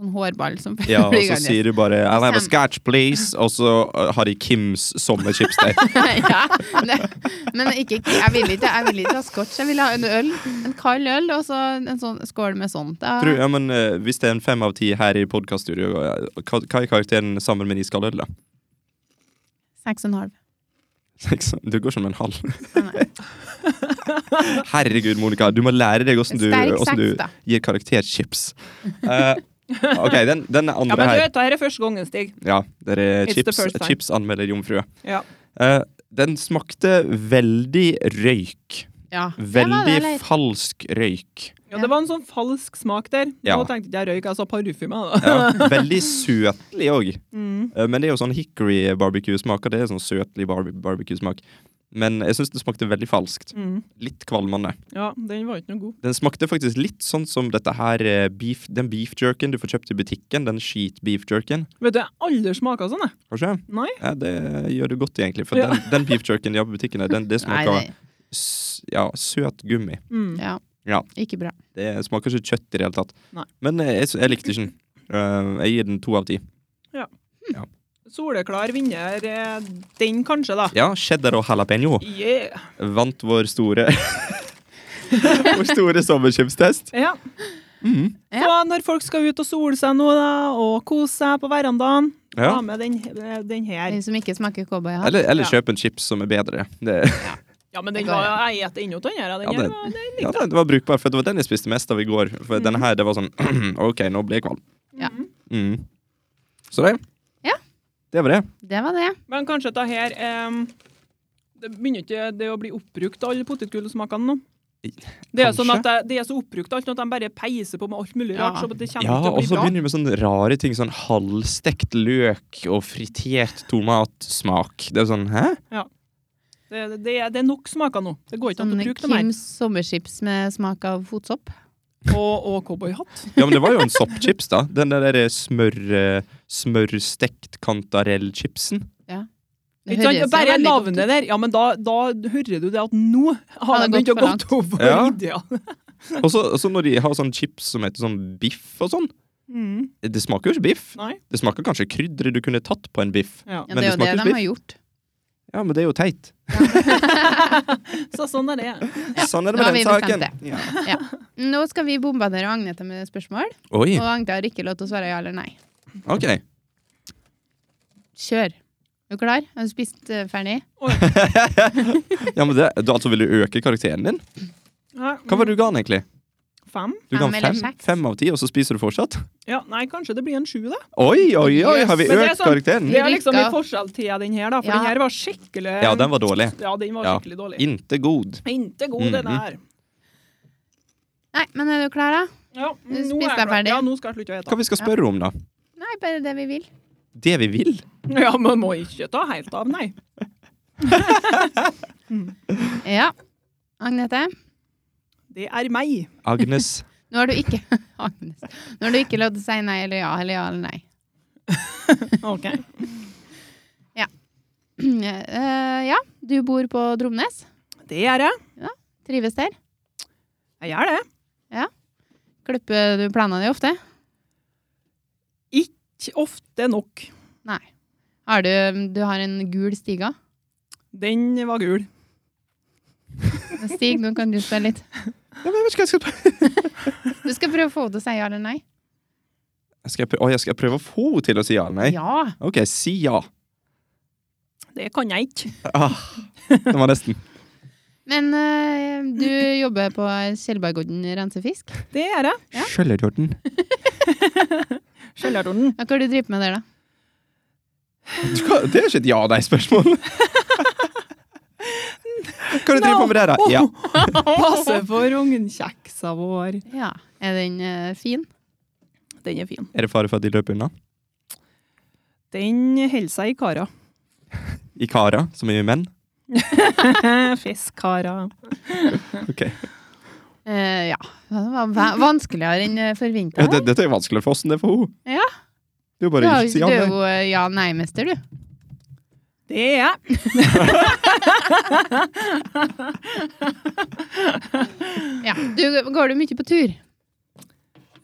S1: sånn hårball som [laughs]
S3: Ja, og så
S1: ned.
S3: sier du bare I'll have a
S1: Sam-
S3: scotch, please. Og så uh, har de Kims sommerchips der.
S1: ja, det, men ikke, jeg, vil ikke, jeg vil ikke ha scotch, jeg vil ha en øl. En kald øl, og så en sånn skål med sånt. Da-
S3: Tror, ja, men eh, Hvis det er en fem av ti her i podkaststudio, hva, hva er karakteren sammen med en iskald øl, da? [laughs]
S1: Seks og en halv.
S3: Liksom, Du går som en halv.
S1: Nei.
S3: [laughs] Herregud, Monica, du må lære deg åssen du,
S1: Sterk
S3: hvordan
S1: seks,
S3: du
S1: da.
S3: gir karakterchips. Eh, OK, den, den
S2: Ja,
S3: andre
S2: men du
S3: her.
S2: vet, dette er første gangen, Stig.
S3: Ja, det er
S2: It's the
S3: chips,
S2: first time.
S3: chipsanmelder jomfrue.
S2: Ja.
S3: Eh, den smakte veldig røyk.
S1: Ja. det var det,
S3: Veldig
S1: eller?
S3: falsk røyk.
S2: Ja, det var en sånn falsk smak der.
S3: Ja.
S2: Nå tenkte ikke jeg røyk, jeg sa parfyme. da.
S3: Ja, veldig søtlig òg.
S2: Mm.
S3: Eh, Men det er jo sånn hickory barbecue-smak, og det er sånn søtlig barbe- barbecue-smak. Men jeg syns det smakte veldig falskt.
S2: Mm.
S3: Litt kvalmende.
S2: Ja, den var ikke noe god.
S3: Den smakte faktisk litt sånn som dette her eh, beef, den beef jerken du får kjøpt i butikken. Den skit beef jerken.
S2: Vet du, jeg har aldri smaka sånn, jeg.
S3: Kanskje?
S2: Nei.
S3: Ja, det gjør du godt, egentlig. For
S2: Ja.
S3: den, den beef jerken de har på butikken, den, det
S1: Nei,
S3: smaker
S1: det,
S3: s- ja, søt gummi.
S2: Mm.
S1: ja.
S3: Ja.
S1: Ikke bra.
S3: Det smaker ikke kjøtt i det hele tatt.
S2: Nei.
S3: Men eh, jeg, s- jeg likte ikke den. Eh, jeg gir den to av ti.
S2: Soleklar vinner. eh, Den kanskje, da.
S3: Ja, cheddar og jalapeño
S2: Yeah.
S3: vant vår store [laughs] Vår store sommerchipstest.
S2: Ja.
S3: Mhm.
S1: Ja.
S2: Så når folk skal ut og sole seg nå, da, og kose seg på verandaen,
S3: Ja.
S2: ta med den, eh, den her.
S1: Den som ikke smaker cowboyhatt.
S3: Eller, eller
S2: Ja.
S3: kjøp en chips som er bedre. Det,
S2: Ja, men den
S1: Det går,
S2: var,
S1: ja.
S2: jeg spiser ennå av den her. Den
S3: Ja,
S2: her
S3: det-
S2: var- den
S3: ja,
S2: likte jeg.
S3: den var brukbar, for det var den jeg spiste mest av i går. For
S2: Mhm.
S3: denne her, det var sånn [clears throat] OK, nå blir jeg kvalm.
S1: Ja.
S3: Mhm. Så det.
S1: Ja.
S3: Det var det.
S1: Det var det.
S2: Men kanskje dette her em, Det begynner ikke det å bli oppbrukt, alle potetgullsmakene nå? Det er,
S3: Kanskje.
S2: sånn at det, det er så oppbrukt alt nå at de bare peiser på med alt mulig
S1: Ja.
S2: rart. Så det kommer
S3: Ja,
S2: ikke til å
S3: og
S2: bli
S3: så
S2: bra.
S3: begynner vi med sånne rare ting. Sånn halvstekt løk og fritert tomatsmak. Det er sånn Hæ?
S2: Det, det, er- det er nok smaker nå. Det går ikke an
S1: Sånn
S2: å bruke dem her.
S1: Kims sommerchips med smak av fotsopp.
S2: Og, og cowboyhatt.
S3: Ja, men det var jo en soppchips, da. Den der eh, smør, eh, smørstekt kantarellchipsen.
S1: Det
S2: Ikke sant?
S1: høres jo
S2: Bare
S1: veldig godt ut.
S2: navnet der. Ja, men da, da hører du det at nå har
S1: Ja,
S2: de
S1: det har
S2: begynt
S1: gått for
S2: å gå
S1: langt.
S2: tom for [laughs]
S3: Ja.
S2: ideer.
S3: Og så og så når de har sånn chips som heter sånn biff og sånn.
S2: Mm.
S3: Det smaker jo ikke biff.
S2: Nei.
S3: Det smaker kanskje krydderet du kunne tatt på en biff.
S2: Ja.
S1: Ja,
S3: men
S1: det er
S3: det
S1: jo det
S3: smaker
S1: de
S3: biff.
S1: har gjort.
S3: Ja, men det er jo teit.
S2: Så sånn er det.
S3: Sånn er
S1: Nå
S3: det
S1: har
S3: med den
S1: vi bestemt
S3: saken.
S1: det.
S3: Ja.
S1: Nå skal vi bombardere Agnete med spørsmål,
S3: Oi,
S1: og Agnete har ikke lov til å svare ja eller nei.
S3: ok.
S1: Kjør. Er du klar? Har du spist eh, ferdig?
S3: Ja, men det, du, altså, vil du øke karakteren din?
S2: Ja.
S3: Hva var det du ga den, egentlig?
S2: Fem?
S3: Du ga
S1: Fem
S3: den
S1: eller
S3: fem,
S1: seks?
S3: fem av ti, og så spiser du fortsatt?
S2: Ja, nei, kanskje det blir en sju, da.
S3: Oi, oi, oi, har vi
S2: Men det er
S3: økt
S2: sånn-
S3: karakteren?
S2: Det er liksom
S1: Rykka.
S2: i forskjell til den her, da. For
S1: Ja.
S2: den her var skikkelig
S3: Ja, den var dårlig.
S2: Ja, den var
S3: Ja.
S2: skikkelig dårlig.
S3: Inte god.
S2: Inte god, den
S3: Mhm.
S2: her.
S1: Nei, men er du klar, da?
S2: Ja, nå er
S1: spiste
S2: jeg
S1: jeg
S2: klar.
S1: ferdig.
S2: Ja, nå skal jeg slutte å
S3: Hva vi skal spørre om, da?
S1: Nei, bare det vi vil.
S3: Det vi vil?
S2: ete. Ja, man må ikke ta helt av, nei.
S1: Ja. Agnete,
S2: Det er meg.
S3: Agnes.
S1: nå har du ikke [laughs] Agnes. Nå har du ikke lov til å si nei eller ja eller ja eller nei. [clears throat]
S2: Ok.
S1: Eh, ja, du bor på Dromnes.
S2: Det gjør jeg.
S1: Trives der.
S2: Jeg gjør det.
S1: Klipper du planene dine ofte?
S2: Ikke ofte nok.
S1: Nei. Har du, du har en gul stiga?
S2: Den var gul.
S1: Stig, nå kan du spørre litt.
S3: Ja, men jeg vet ikke hva jeg skal prøve.
S1: Du skal prøve å få henne til å si ja eller nei.
S3: Skal jeg, prø- å, jeg skal prøve å få henne til å si ja eller nei?
S1: Ja.
S3: OK, si ja.
S2: Det kan jeg ikke.
S3: Ah, det var nesten.
S1: Men eh, du jobber på Skjellbergodden rensefisk.
S2: Det gjør jeg.
S1: Ja.
S3: Skjøllerdorten.
S2: Kjellertorden.
S1: Hva har du drevet med der, da?
S3: Du kan- Det er ikke et [laughs] ja-nei-spørsmål. Hva du driver på med der, da? Ja.
S1: [laughs]
S2: Passe for ungkjeksa vår.
S1: Ja. Er den eh, fin?
S2: Den er fin.
S3: Er det fare for at de løper unna?
S2: Den holder seg i kara. [laughs]
S3: I kara, som er menn?
S2: Fiskkara.
S3: Ok.
S1: Eh, ja. Det var va- vanskeligere enn eh, forventa.
S3: Ja, det, dette er jo vanskeligere for oss enn det er for henne.
S1: Ja.
S3: Det er jo
S1: Du
S3: bare
S1: har
S3: å
S1: jo
S3: si
S1: du
S3: ja.
S1: er
S3: nei.
S1: jo eh, ja-nei-mester, du.
S2: Det er jeg.
S1: Ja. du. Går du mye på tur?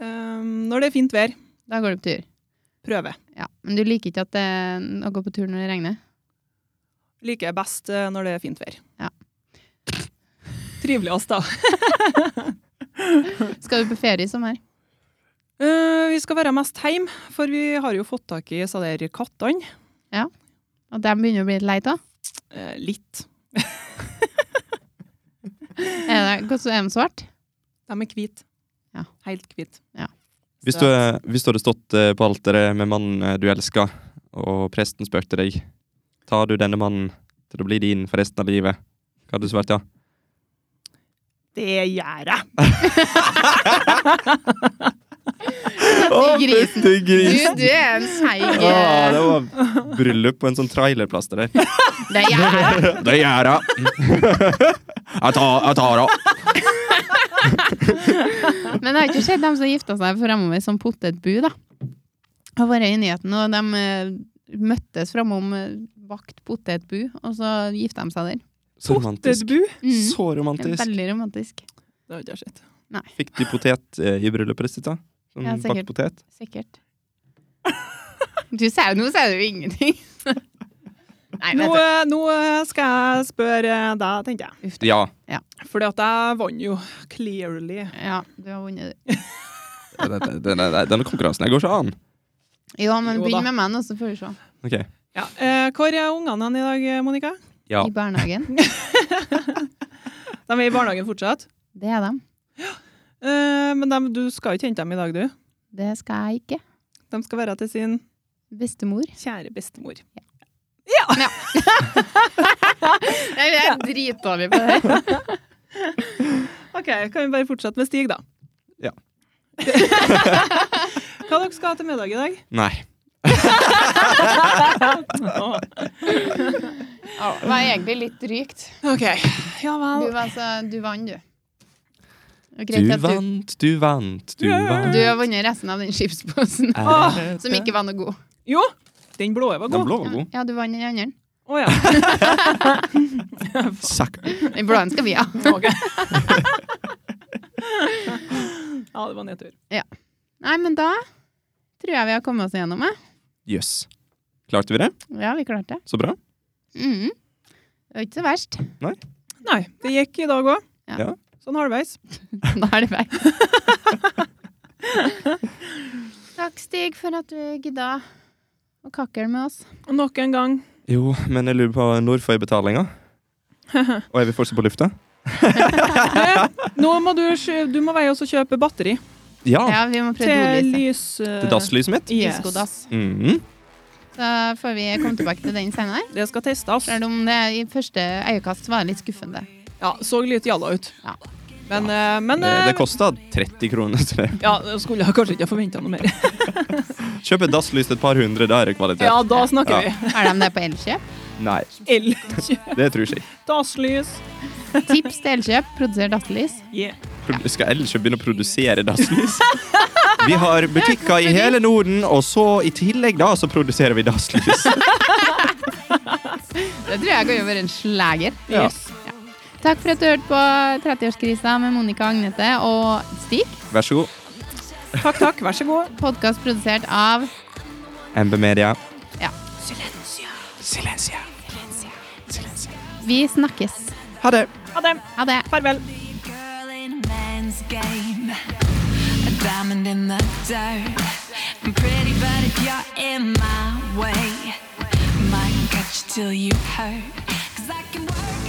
S2: Ehm, når det er fint vær,
S1: Da går du på tur.
S2: prøve.
S1: Ja. Men du liker ikke at det, å gå på tur når det regner?
S2: Liker jeg best eh, når det er fint vær.
S1: Ja.
S2: Triveligst, da.
S1: Skal du på ferie i sommer?
S2: Eh, vi skal være mest hjemme, for vi har jo fått tak i så der kattene.
S1: Og de begynner å bli litt lei av?
S2: Eh, litt.
S1: Er det- Hvordan er de svart?
S2: De er hvite.
S1: Ja.
S2: Helt hvite.
S1: Ja.
S3: Hvis du, eh, hvis du hadde stått eh, på alteret med mannen eh, du elsker, og presten spurte deg Tar du denne mannen til å bli din for resten av livet, hva hadde du svart ja?
S2: Det gjør jeg.
S3: Å,
S1: grisen. Du,
S3: fytti grisen!
S1: du er en seig
S3: Å,
S1: eh,
S3: det var bryllup på en sånn trailerplass til deg.
S1: Det er jeg.
S3: Det
S1: [laughs]
S3: gjør jeg. Jeg tar, jeg tar det.
S1: Men det har ikke skjedd dem som gifta seg fremover som potetbu, da. Har vært i nyheten, og de eh, møttes framom eh, bakt potetbu, og så gifta de seg der.
S3: Så romantisk.
S2: Potetbu.
S1: Mm. Det
S3: Så
S1: er
S3: romantisk.
S1: veldig romantisk.
S2: Det har jeg ikke sett.
S3: Fikk de potet eh, i bryllupet sitt, da? Sånn
S1: Ja, sikkert.
S3: bakt potet?
S1: Sikkert. Du sier jo Nå sier du jo ingenting. [laughs] Nei,
S2: Nå,
S1: vet
S2: eh, nå eh, skal jeg spørre eh, deg, tenkte jeg.
S1: du. Uff da.
S3: Ja.
S2: Fordi at jeg vant jo clearly.
S1: Ja, du har vunnet. det.
S3: Den- den- den- Denne konkurransen jeg går ikke an.
S1: Jo, men
S2: Jo da.
S1: begynn med meg nå, så får du se.
S3: Ok.
S2: Ja. eh, hvor er ungene hen i dag, eh, Monica?
S3: Ja.
S1: I barnehagen.
S2: De er i barnehagen fortsatt.
S1: Det er dem.
S2: Eh, men dem- du skal jo ikke hente dem i dag, du.
S1: Det skal jeg ikke.
S2: De skal være til sin
S1: Bestemor.
S2: kjære bestemor.
S1: Jeg er dritdårlig på det her.
S2: Ok, kan vi bare fortsette med Stig, da?
S3: Ja.
S2: [laughs] Hva dere skal ha til middag i dag?
S3: Nei.
S1: Ja, det var egentlig litt drygt.
S2: Ok, ja
S1: Du,
S2: vel.
S1: var så- du vant, du. Og greit
S3: Du
S1: at
S3: vant, du vant, du
S2: Yeah.
S3: vant. Eh,
S1: Du har vunnet resten av den chipsposen
S2: Åh,
S1: [laughs] som ikke var noe god.
S2: Jo, den blå var
S3: Den
S2: god.
S3: blå var god.
S1: Ja, du vant den andre.
S2: Å ja.
S3: Sakk.
S1: Den blå skal vi ha.
S2: Ok. ja, det var nedtur.
S1: Nei, men da tror jeg vi har kommet oss gjennom det.
S3: Jøss. Klarte vi det?
S1: Ja, vi klarte det.
S3: Så bra.
S1: Mhm. Det var ikke så verst.
S2: Nei, det gikk i dag òg.
S1: Ja.
S3: Ja.
S2: Sånn halvveis.
S1: [laughs] Da er det vei. Takk, Stig, for at du gidda å kakle med oss.
S2: Og Nok en gang.
S3: Jo, men jeg lurer på når får jeg betalinga?
S1: [laughs]
S3: Og er vi fortsatt på lufta?
S2: Eh, Nå må du, kjø- du må veie oss og kjøpe batteri
S3: Ja.
S1: Ja, vi må prøve å
S2: til
S1: ordlyse.
S2: lys... eh,
S3: Ah. Til dasslyset mitt?
S2: Yes.
S1: Diskodass.
S3: Mhm.
S1: Så får vi komme tilbake til den senere.
S2: Det skal testes.
S1: Selv om det i første øyekast var litt skuffende.
S2: Ja, så litt jalla ut.
S1: Ja.
S2: Men, eh, men
S3: Det, det
S2: eh,
S3: kosta 30 kroner. Så det.
S2: Ja, det skulle jeg kanskje ikke ha forventa noe mer.
S3: Kjøp et dasslys til et par hundre, da er det kvalitet.
S2: Ja, da snakker
S3: [laughs] Ja.
S1: Har de det på Elkjøp?
S3: Nei,
S2: vi. [laughs] Elkjøp.
S3: det tror jeg ikke.
S2: Dasslys.
S1: Tips til Elkjøp, produsert datterlys.
S2: Yeah.
S3: Pro- Skal ellers ikke begynne å produsere dasslys? Vi har butikker i hele Norden, og så i tillegg da, så produserer vi dasslys.
S1: Det tror jeg kan jo være en slager.
S3: Ja.
S2: Yes.
S1: Takk for at du hørte på 30-årskrisa med Monica Agnete og Stig.
S3: Vær så god.
S2: Takk, takk. Vær så god.
S1: Podkast produsert av
S3: MB Media.
S1: Ja.
S3: Silencia.
S1: Vi snakkes.
S3: Ha det.
S2: Ha det.
S1: Ha det.
S2: Farvel.
S4: lead girl in a man's game. A diamond in the dirt. I'm pretty, but if you're in my way, might catch you till you hurt. Cause I can work.